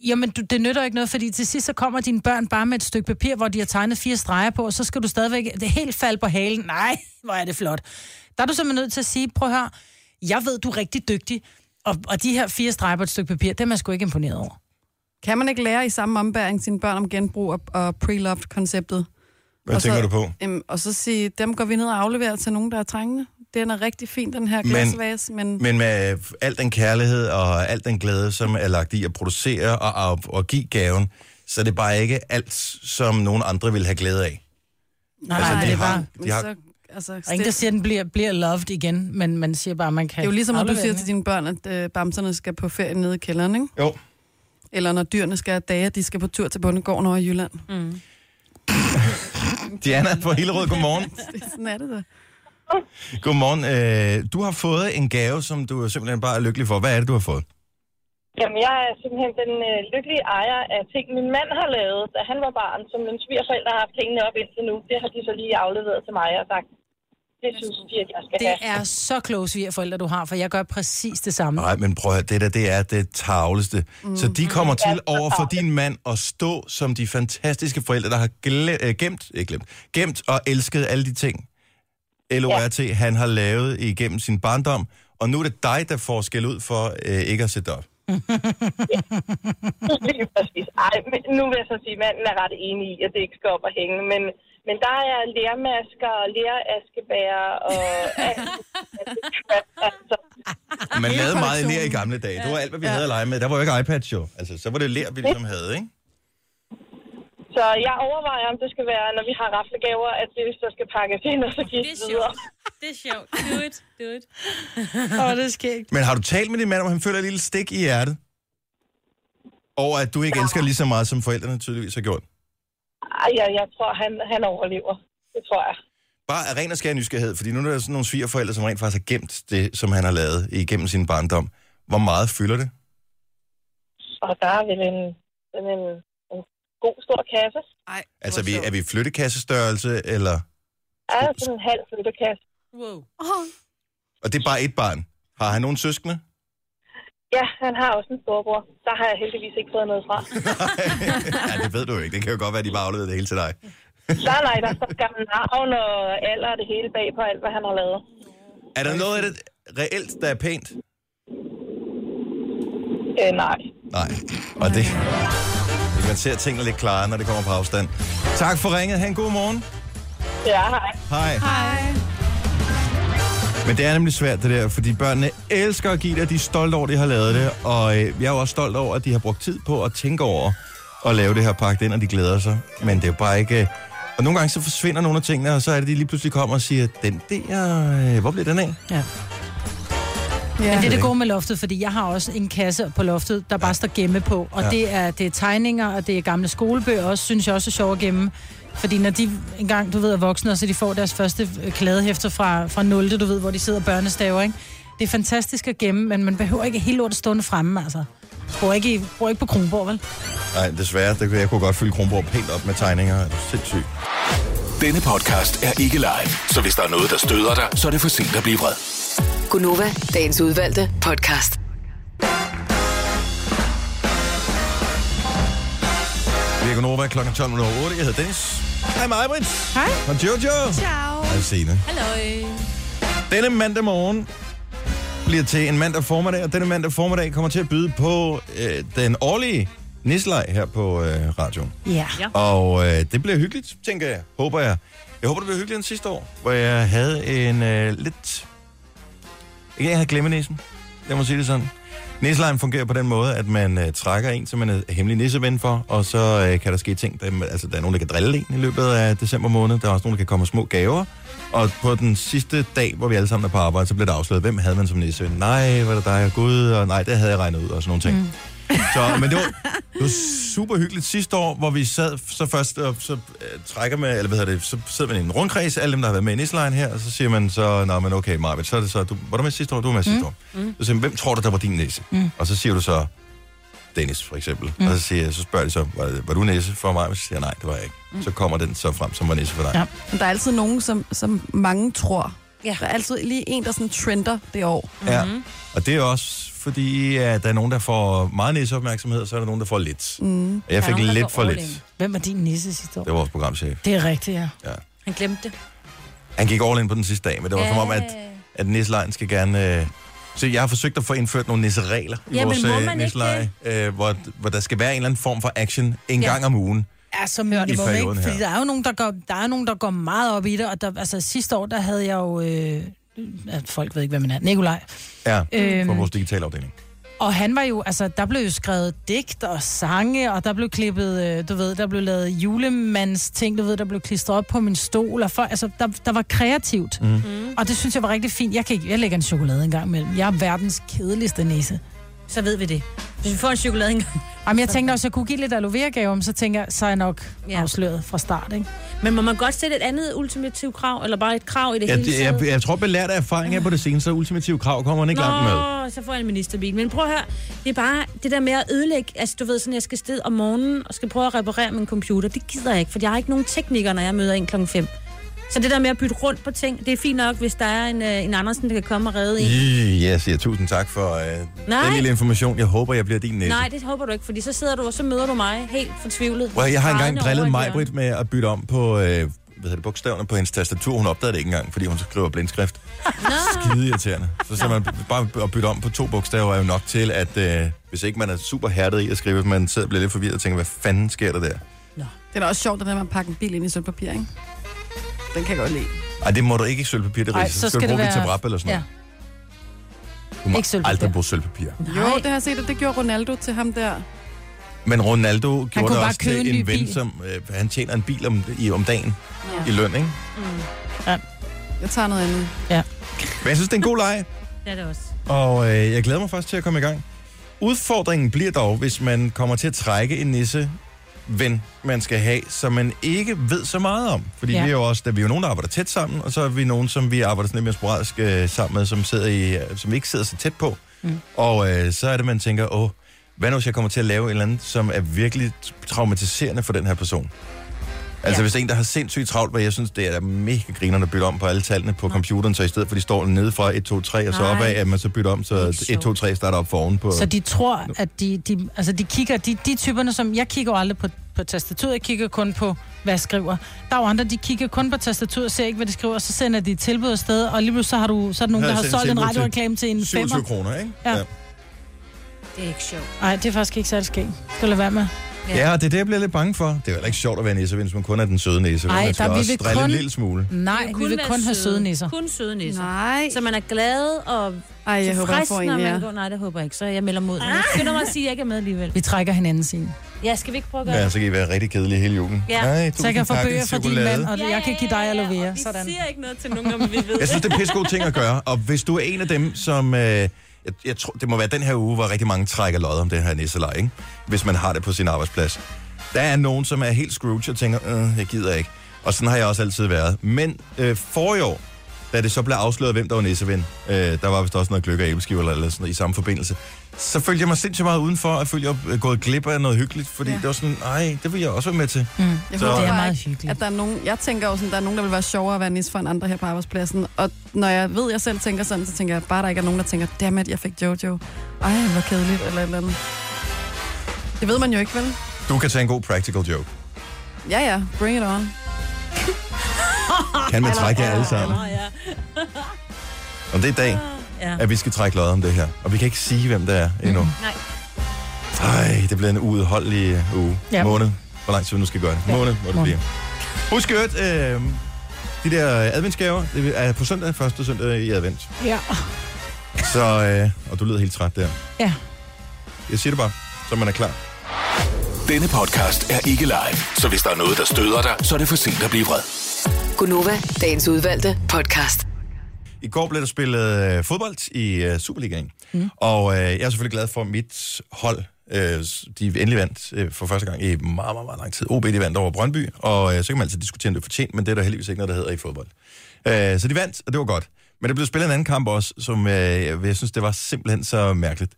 C: Jamen, du, det nytter ikke noget, fordi til sidst så kommer dine børn bare med et stykke papir, hvor de har tegnet fire streger på, og så skal du stadigvæk det er helt falde på halen. Nej, hvor er det flot. Der er du simpelthen nødt til at sige, prøv her, jeg ved, du er rigtig dygtig, og, og de her fire streger på et stykke papir, dem er jeg sgu ikke imponeret over.
D: Kan man ikke lære i samme ombæring sine børn om genbrug og, og pre-loved-konceptet?
A: Hvad
D: Og så-
A: tænker du på?
D: Øhm, og så sige, dem går vi ned og afleverer til nogen, der er trængende. Den er rigtig fin, den her
A: Men-
D: glasvase, men, men,
A: Men med al den kærlighed og al den glæde, som er lagt i at producere og, og, og give gaven, så er det bare ikke alt, som nogen andre vil have glæde af.
C: Nej,
A: Altså,
C: altså,
A: de
C: nej, det er
A: har-
C: bare...
A: de har-
D: så... Altså,
C: Der er ingen, der
D: det,
C: siger, at den bliver, bliver loved igen, men man siger bare, at man kan
D: det er jo ligesom, når du
C: aflevere
D: siger
C: den,
D: til dine børn, at øh, bamserne skal på ferie nede i kælderen, ikke?
A: Jo.
D: Eller når dyrene skal have dage, de skal på tur til bondegården over i Jylland.
C: Mm.
A: Diana fra Hillerød, godmorgen.
D: Det, sådan er det da.
A: Godmorgen. Øh, du har fået en gave, som du simpelthen bare er lykkelig for. Hvad er det, du har fået?
I: Jamen, jeg er simpelthen den øh, lykkelige ejer af ting, min mand har lavet, da han var barn, som mine svigerforældre har haft hængende op indtil nu. Det har de så lige afleveret til mig og sagt, det synes de, at jeg skal
C: Det
I: have.
C: er så kloge svigerforældre, du har, for jeg gør præcis det samme.
A: Nej, men prøv at høre, det der, det er det tavleste. Mm. Så de kommer til over for din mand og stå som de fantastiske forældre, der har gle- øh, gemt, ikke glemt, gemt og elsket alle de ting, LORT, ja. han har lavet igennem sin barndom. Og nu er det dig, der får skæld ud for øh, ikke at sætte op.
I: Lige præcis. Ej, men nu vil jeg så sige, at manden er ret enig i, at det ikke skal op og hænge. Men, men der er lærmasker og læreraskebærer og alt. altså,
A: Man lavede meget lær i gamle dage. Det var alt, hvad vi ja. havde at lege med. Der var jo ikke iPads jo. Altså, så var det lær, vi ligesom havde, ikke?
I: så jeg overvejer, om det skal være, når vi har raflegaver, at det så skal pakkes ind og så
B: Det er
I: gives videre.
B: sjovt. Det er sjovt. Do it. Do it.
C: Åh, det er skægt.
A: Men har du talt med din mand, om han føler et lille stik i hjertet? Og at du ikke elsker lige så meget, som forældrene tydeligvis har gjort?
I: Ej, jeg, jeg tror, han, han overlever. Det tror jeg.
A: Bare af ren og skær nysgerrighed, fordi nu er der sådan nogle svigerforældre, som rent faktisk har gemt det, som han har lavet igennem sin barndom. Hvor meget fylder det?
I: Og der er vel en, en, en, en god stor kasse.
D: Ej,
A: Altså, er
D: hvor
A: vi,
D: sjovt.
A: er vi flyttekassestørrelse, eller...
I: Er der sådan en halv flyttekasse?
B: Wow.
A: Og det er bare et barn. Har han nogen søskende?
I: Ja, han har også en storbror. Der har jeg heldigvis ikke fået noget fra.
A: ja, det ved du jo ikke. Det kan jo godt være, at de bare afleverede det hele til dig.
I: nej, nej, der står gammel navn og alder og det hele bag på alt, hvad han har lavet.
A: Er der noget af det reelt, der er pænt?
I: Øh, nej.
A: Nej. Og det... Man ser tingene lidt klarere, når det kommer på afstand. Tak for ringet. Ha' en god morgen.
I: Ja, hej.
A: Hej. Hej. Men det er nemlig svært det der, fordi børnene elsker at give det, og de er stolte over, at de har lavet det. Og øh, jeg er jo også stolt over, at de har brugt tid på at tænke over at lave det her pakket ind, og de glæder sig. Men det er jo bare ikke... Øh... Og nogle gange så forsvinder nogle af tingene, og så er det, de lige pludselig kommer og siger, den der, øh, hvor blev den af?
C: Ja.
D: Ja.
C: Men det er det gode med loftet, fordi jeg har også en kasse på loftet, der bare står gemme på. Og
A: Ja.
C: ja. det, er, det er tegninger, og det er gamle skolebøger også, synes jeg også er sjovt at gemme. Fordi når de engang, du ved, er voksne, og så de får deres første øh, kladehæfter fra, fra 0. du ved, hvor de sidder og børnestaver, ikke? Det er fantastisk at gemme, men man behøver ikke hele lortet stående fremme, altså. Bor ikke, i, bor ikke på Kronborg, vel?
A: Nej, desværre, det, jeg kunne godt fylde Kronborg pænt op med tegninger. Er du Sindssygt.
E: Denne podcast er ikke live, så hvis der er noget, der støder dig, så er det for sent at blive vred.
F: Gunova, dagens udvalgte podcast.
A: Vi er Gunova kl. 12.08. Jeg hedder Dennis. Hej mig, Brits.
D: Hej.
A: Og Jojo.
D: Ciao.
A: Hej, Signe.
B: Halløj.
A: Denne mandag morgen bliver til en mandag formiddag, og denne mandag formiddag kommer til at byde på øh, den årlige nisselej her på øh, radioen.
C: Ja.
B: Ja.
A: Og øh, det bliver hyggeligt, tænker jeg. Håber jeg. Jeg håber, det bliver hyggeligere end sidste år, hvor jeg havde en øh, lidt... Jeg havde glemmenæsen. Lad mig sige det sådan. Nisselejen fungerer på den måde, at man øh, trækker en, som man er hemmelig nisseven for, og så øh, kan der ske ting. Der, altså, der er nogen, der kan drille en i løbet af december måned. Der er også nogen, der kan komme med små gaver. Og på den sidste dag, hvor vi alle sammen er på arbejde, så blev der afsløret, hvem havde man som nisseven. Nej, var det dig og Gud, og nej, det havde jeg regnet ud, og sådan nogle ting. Mm. Så, men det var, det var super hyggeligt sidste år, hvor vi sad f- så først, og så øh, trækker man, eller hvad hedder det, så sidder man i en rundkreds, alle dem, der har været med i Nislejen her, og så siger man så, nej, men okay, Marvitt, så er det så, du, var du med sidste år, du var med sidste år. Så siger man, hvem tror du, der var din næse? Mm. Og så siger du så, Dennis for eksempel, mm. og så, siger, så spørger de så, var, var du næse for mig? Og så siger jeg, nej, det var jeg ikke. Mm. Så kommer den så frem, som var næse for dig.
C: Ja.
D: Men der er altid nogen, som, som mange tror.
B: Ja.
D: Der er altid lige en, der sådan trender det år.
A: Ja. Mm-hmm. Og det er også fordi, at der er nogen, der får meget næseopmærksomhed, og så er der nogen, der får lidt. Mm. Og jeg
B: Der er
A: fik
B: nogen, der
A: lidt
B: får
A: for lidt.
B: overlægen.
C: Hvem var din nisse sidste år?
A: Det var vores programchef.
C: Det er rigtigt, ja.
B: Han glemte Øh, det.
A: Han gik all in på den sidste dag, men det var som om, at, at nisselejen skal gerne... Øh... Så jeg har forsøgt at få indført nogle nisseregler i
B: Ja, men
A: vores
B: må
A: øh,
B: man ikke
A: nisseleje, øh, hvor, hvor der skal være en eller anden form for action en
B: Ja.
A: gang om ugen.
C: Ja, så minimum,
A: perioden
C: ikke?
A: her.
C: Fordi der er jo nogen, der går, der er nogen, der går meget op i det, og der, altså sidste år, der havde jeg jo... Øh, øh, folk ved ikke, hvem man er. Nikolaj.
A: Ja,
C: Øhm.
A: for vores digitale afdeling.
C: Og han var jo, altså, der blev jo skrevet digt og sange, og der blev klippet, øh, du ved, der blev lavet julemands ting, du ved, der blev klistret op på min stol, og for, altså, der, der var kreativt. Mm. Og det synes jeg var rigtig fint. Jeg, kan ikke, jeg lægger en chokolade en gang imellem. Jeg er verdens kedeligste næse.
B: Så ved vi det. Hvis vi får en chokolade engang.
C: Jamen, jeg tænkte også, at jeg kunne give lidt aloe vera gave, om, så tænker jeg, så er jeg nok
B: Ja.
C: ja. afsløret fra start, ikke?
B: Men må man godt sætte et andet ultimativt krav, eller bare et krav i det
A: Jeg,
B: hele taget?
A: jeg, jeg tror, belært af erfaring er på det seneste, at ultimative krav kommer han ikke langt med.
B: Nå, så får jeg en ministerbil. Men prøv at høre, det er bare det der med at ødelægge, altså du ved sådan, jeg skal sted om morgenen og skal prøve at reparere min computer, det gider jeg ikke, for jeg har ikke nogen teknikere, når jeg møder en klokken 5. Så det der med at bytte rundt på ting, det er fint nok, hvis der er en, øh, en Andersen, der kan komme og redde en.
A: Ih, Jeg siger tusind tak for øh, den lille information. Jeg håber, jeg bliver din næse.
B: Nej, det håber du ikke, fordi så sidder du, og så møder du mig helt fortvivlet.
A: Well, jeg har engang
B: Grædende over
A: drillet
B: et
A: mig,
B: hjørne.
A: Britt, med at bytte om på øh, hvad hedder det, bogstaverne på hendes tastatur. Hun opdagede det ikke engang, fordi hun skriver blindskrift. Skide irriterende. Så, så man bare at bytte om på to bogstaver er jo nok til, at øh, hvis ikke man er super hærdet i at skrive, hvis man sidder og bliver lidt forvirret og tænker, hvad fanden sker der der?
D: Det er da også sjovt, at man pakker en bil ind i sølvpapir, ikke? Den kan jeg godt lide.
A: Ej, det må du ikke i sølvpapir, det
C: Ej,
A: Ej, så,
C: så
A: skal,
C: skal
A: du
C: det
A: bruge det
C: være-
A: til rap eller sådan
C: Ja.
A: noget. Du må
C: Ikke sølvpapir.
A: aldrig bruge sølvpapir.
D: Jo, det har jeg set, og det gjorde Ronaldo til ham der.
A: Men Ronaldo gjorde
C: kunne
A: det
C: bare
A: også
C: købe en
A: til
C: ny
A: en ven,
C: bil.
A: som øh, han tjener en bil om, i, om dagen i løn, ikke?
D: Jeg tager noget andet.
A: Men jeg synes, det er en god leg.
B: Det er det også.
A: Og øh, jeg glæder mig faktisk til at komme i gang. Udfordringen bliver dog, hvis man kommer til at trække en nisse ven, man skal have, som man ikke ved så meget om. Fordi ja.
C: Ja.
A: vi er jo også, der vi er jo nogen, der arbejder tæt sammen, og så er vi nogen, som vi arbejder sådan lidt mere sporadisk øh, sammen med, som, sidder i, øh, som ikke sidder så tæt på. Mm. Og øh, så er det, man tænker, åh, hvad nu hvis jeg kommer til at lave et eller andet, som er virkelig traumatiserende for den her person? Altså ja.
B: Ja.
A: hvis der er en, der har sindssygt travlt, hvad jeg synes, det er da mega grinerne at bytte om på alle tallene på computeren, så i stedet for de står nede fra 1, 2, 3 og så
B: Nej.
A: opad, at man så bytter om,
B: Det er
A: så
B: ikke
A: 1, 2,
B: sjovt.
A: 3 starter op foran på...
C: Så de tror, at de, de, altså de kigger, de, de typerne, som jeg kigger jo aldrig på, på tastaturet, jeg kigger kun på, hvad jeg skriver. Der er jo andre, de kigger kun på tastaturet og ser ikke, hvad de skriver, og så sender de et tilbud afsted, og lige pludselig så har du, så er der nogen,
A: Her
C: der
A: er
C: har
A: sendt
C: solgt en
A: tilbud til
C: radioreklame til en
A: 27
C: femmer.
A: kroner, ikke?
C: Ja.
B: Det er ikke sjovt.
C: Nej, det er faktisk ikke særlig skægt. Skal du lade være med?
A: Ja. ja, det er det, jeg bliver lidt bange for. Det er jo heller ikke sjovt at være næseven, hvis man kun er den søde næseven.
C: Ej,
A: man skal
C: der- vi
A: også
C: vil
A: drille en
C: kun-
A: lille smule.
C: Nej, vi vil kun have søde nisser.
B: Kun søde nisser.
D: Nej.
B: Så man er glad og
D: Ej, jeg håber, jeg
B: tilfreds,
D: får
B: når
D: en,
B: man
D: ja.
B: går. Nej, det håber jeg ikke, så jeg melder mod. Jeg skynder mig at sige, at jeg ikke er med alligevel.
C: Vi trækker hinanden sin.
B: Ja, skal vi ikke prøve at gøre
A: Ja,
B: det?
A: så kan I være rigtig kedelige hele julen.
B: Ja.
A: Ej,
C: Så jeg kan få
A: tusind tak,
C: bøger fra din
A: chokolade.
C: mand, og jeg kan give dig aloe vera. Sådan.
B: Vi siger ikke noget til nogen, om vi ved.
A: Jeg synes, det er pisse gode ting at gøre, og hvis du er en af dem, som... Øh, jeg, jeg tror, det må være den her uge, hvor rigtig mange trækker lod om den her nisselej, ikke? Hvis man har det på sin arbejdsplads. Der er nogen, som er helt Scrooge og tænker, øh, jeg gider ikke. Og sådan har jeg også altid været. Men øh, for i år, da det så blev afsløret, hvem der var nisseven, øh, der var vist også noget gløk og æbleskiver eller, eller sådan noget, i samme forbindelse, så følte jeg mig sindssygt meget udenfor, og følte, jeg var gået glip af noget hyggeligt, fordi ja.
D: Ja.
A: det var sådan, nej, det vil jeg også være med til.
D: Jeg
A: Så-
D: håber
A: Det
C: er
D: bare
C: meget
D: ikke,
C: hyggeligt.
D: At der er nogen, jeg tænker jo sådan, der er nogen, der vil være sjovere at være nisse for end andre her på arbejdspladsen. Og når jeg ved, at jeg selv tænker sådan, så tænker jeg bare, at der ikke er nogen, der tænker, dammit, jeg fik Jojo. Ej, hvor kedeligt, eller et eller andet. Det ved man jo ikke, vel?
A: Du kan tage en god practical joke.
D: Ja, ja, bring it on.
A: Kan man trække jer alle sammen?
B: Nå, ja.
A: Og det er i dag,
B: ja.
A: at vi skal trække lodder om det her. Og vi kan ikke sige, hvem det er endnu.
B: Nej.
A: Ej, det bliver en uudholdelig uge. Ja.
C: Ja.
A: Måned. Hvor lang tid vi nu skal gøre det. Måned må det
C: Måned.
A: blive. Husk i øvrigt, øh, de der adventsgaver, det er på søndag, første søndag i advent.
C: Ja.
A: Så, øh, og du lyder helt træt der.
C: Ja.
A: Jeg siger det bare, så man er klar.
E: Denne podcast er ikke live, så hvis der er noget, der støder dig, så er det for sent at blive vred.
F: Gunova, dagens udvalgte podcast.
A: I går blev der spillet øh, fodbold i øh, Superligaen, mm. og øh, jeg er selvfølgelig glad for at mit hold. Øh, s- de endelig vandt øh, for første gang i meget, meget, meget lang tid. OB de vandt over Brøndby, og øh, så kan man altid diskutere, om det er fortjent, men det er der heldigvis ikke noget, der hedder i fodbold. Øh, så de vandt, og det var godt. Men der blev spillet en anden kamp også, som øh, jeg jeg synes, det var simpelthen så mærkeligt.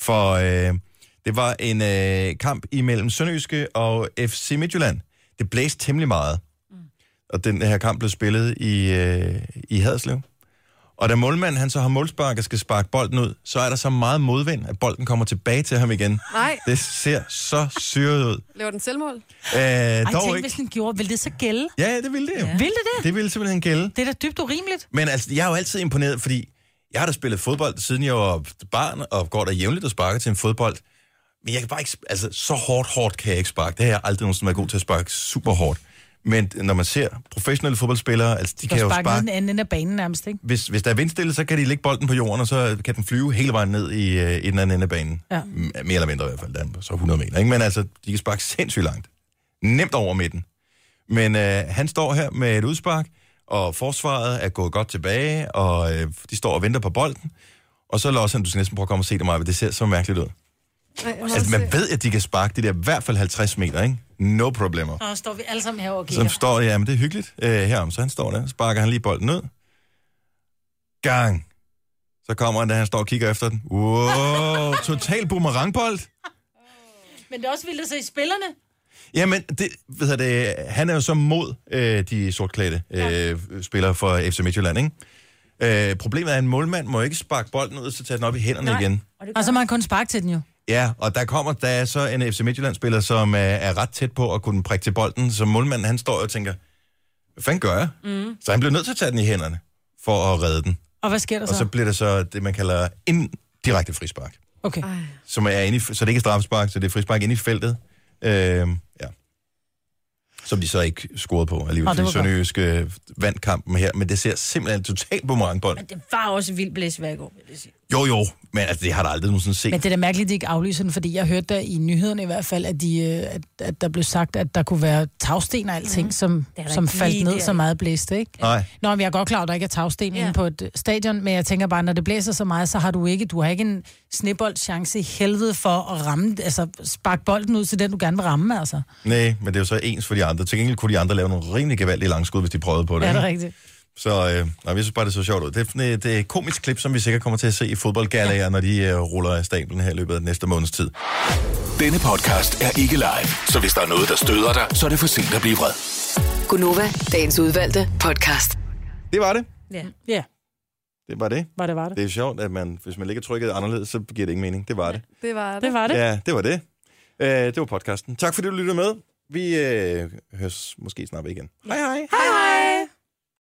A: For øh, det var en øh, kamp imellem Sønderjyske og FC Midtjylland. Det blæste temmelig meget, og den her kamp blev spillet i, øh, i Haderslev. Og da målmanden han så har målspark og skal sparke bolden ud, så er der så meget modvind, at bolden kommer tilbage til ham igen.
D: Nej,
A: Det ser så syret ud.
D: laver den selvmål?
A: Æh,
C: Ej,
A: dog
C: tænk,
A: ikke.
C: hvis den gjorde, ville det så gælde?
A: Ja, ja, det ville det jo.
C: Vil det det?
A: Det ville simpelthen gælde.
C: Det er da dybt urimeligt.
A: Men altså, jeg er jo altid imponeret, fordi jeg har da spillet fodbold, siden jeg var barn, og går der jævnligt og sparker til en fodbold. Men jeg kan bare ikke, sp- altså, så hårdt, hårdt kan jeg ikke sparke. Det har jeg aldrig nogensinde været god til at sparke super hårdt. Men når man ser professionelle fodboldspillere, altså, de
C: Du
A: kan jo
C: sparker
A: sparke
C: ned den anden ende af banen nærmest, ikke?
A: hvis, hvis der er vindstille, så kan de lægge bolden på jorden, og så kan den flyve hele vejen ned i, øh, i den anden ende af banen.
C: Ja.
A: M- Mere eller mindre i hvert fald, der er så 100 meter. Ikke? Men altså, de kan sparke sindssygt langt. Nemt over midten. Men øh, han står her med et udspark, og forsvaret er gået godt tilbage, og øh, de står og venter på bolden. Og så låser han, du skal næsten prøve at komme og se det, Maja, det ser så mærkeligt ud.
D: Nej,
A: Altså, man ved, at de kan sparke det der i hvert fald 50 meter, ikke? No problemer.
C: Og står vi alle sammen her og
A: Som
C: kigger.
A: står, ja, men det er hyggeligt øh, herom. Så han står der, sparker han lige bolden ned. Gang. Så kommer han, da han står og kigger efter den. Wow, total boomerangbold.
C: Men det er også vildt at se spillerne.
A: Jamen, det, ved jeg det, han er jo så mod øh, de sortklædte øh, spillere for FC Midtjylland, ikke? Øh, problemet er, at en målmand må ikke sparke bolden ud, så tager den op i hænderne Nej. igen.
B: Og det gør
C: Og så må han kun sparke til den jo.
A: Ja, og der kommer, der er så en FC Midtjylland-spiller, som øh, er ret tæt på at kunne prikke til bolden, så målmanden, han står og tænker, hvad fanden gør jeg? Mm. Så han bliver nødt til at tage den i hænderne, for at redde den.
C: Og hvad sker der
A: Og så
C: så?
A: bliver det så det, man kalder indirekte frispark.
C: Okay.
A: Som er inde i, så det ikke er straffespark, så det er frispark inde i feltet. Øh, ja. Som de så ikke scorede på alligevel.
C: Åh, det
A: Oh,
C: var
A: det Sønderjysk øh, vandt kampen her, men det ser simpelthen totalt boomerangbold.
B: Men det var også vildt blæs hver går, vil jeg sige.
A: Jo, jo, men altså, det har der aldrig nogensinde set.
C: Men det er da mærkeligt, at de ikke aflyser den, fordi jeg hørte der i nyhederne i hvert fald, at, de, øh, at, at der blev sagt, at der kunne være tagsten og alting, mm. som,
B: er da
C: som
B: ikke
C: faldt
B: lige
C: ned
B: der,
C: så
B: ikke?
C: meget blæste, ikke?
A: Nej.
C: Nå, men jeg er godt klar, at der ikke er tagsten
B: Ja.
C: ja. på et øh, stadion, men jeg tænker bare, når det blæser så meget, så har du ikke, du har ikke en sneboldchance i helvede for at ramme, altså sparke bolden ud til den, du gerne vil ramme, altså.
A: Nej, men det er jo så ens for de andre. Til gengæld kunne de andre lave nogle rimelig gevaldige langskud, hvis de prøvede på det.
C: Er det
A: ikke?
C: rigtigt?
A: Så øh, nej, jeg synes bare, det så sjovt ud. Det er, sådan et, det er et komisk klip, som vi sikkert kommer til at se i fodboldgallerier, ja. når de øh, ruller af stablen her i løbet af den næste måneds tid.
E: Denne podcast er ikke live, så hvis der er noget, der støder dig, så er det for sent at blive vred.
F: Gunova, dagens udvalgte podcast.
A: Det var det.
B: Ja.
C: Ja,
A: Det var det.
C: var det var det.
A: Det er sjovt, at man, hvis man ligger trykket anderledes, så giver det ingen mening. Det var det.
D: Det var det.
C: Det var det. Ja.
A: Ja, det var det. Øh, det var podcasten. Tak fordi du lyttede med. Vi øh, høres måske snart ved igen. Hej hej.
D: Hej, hej.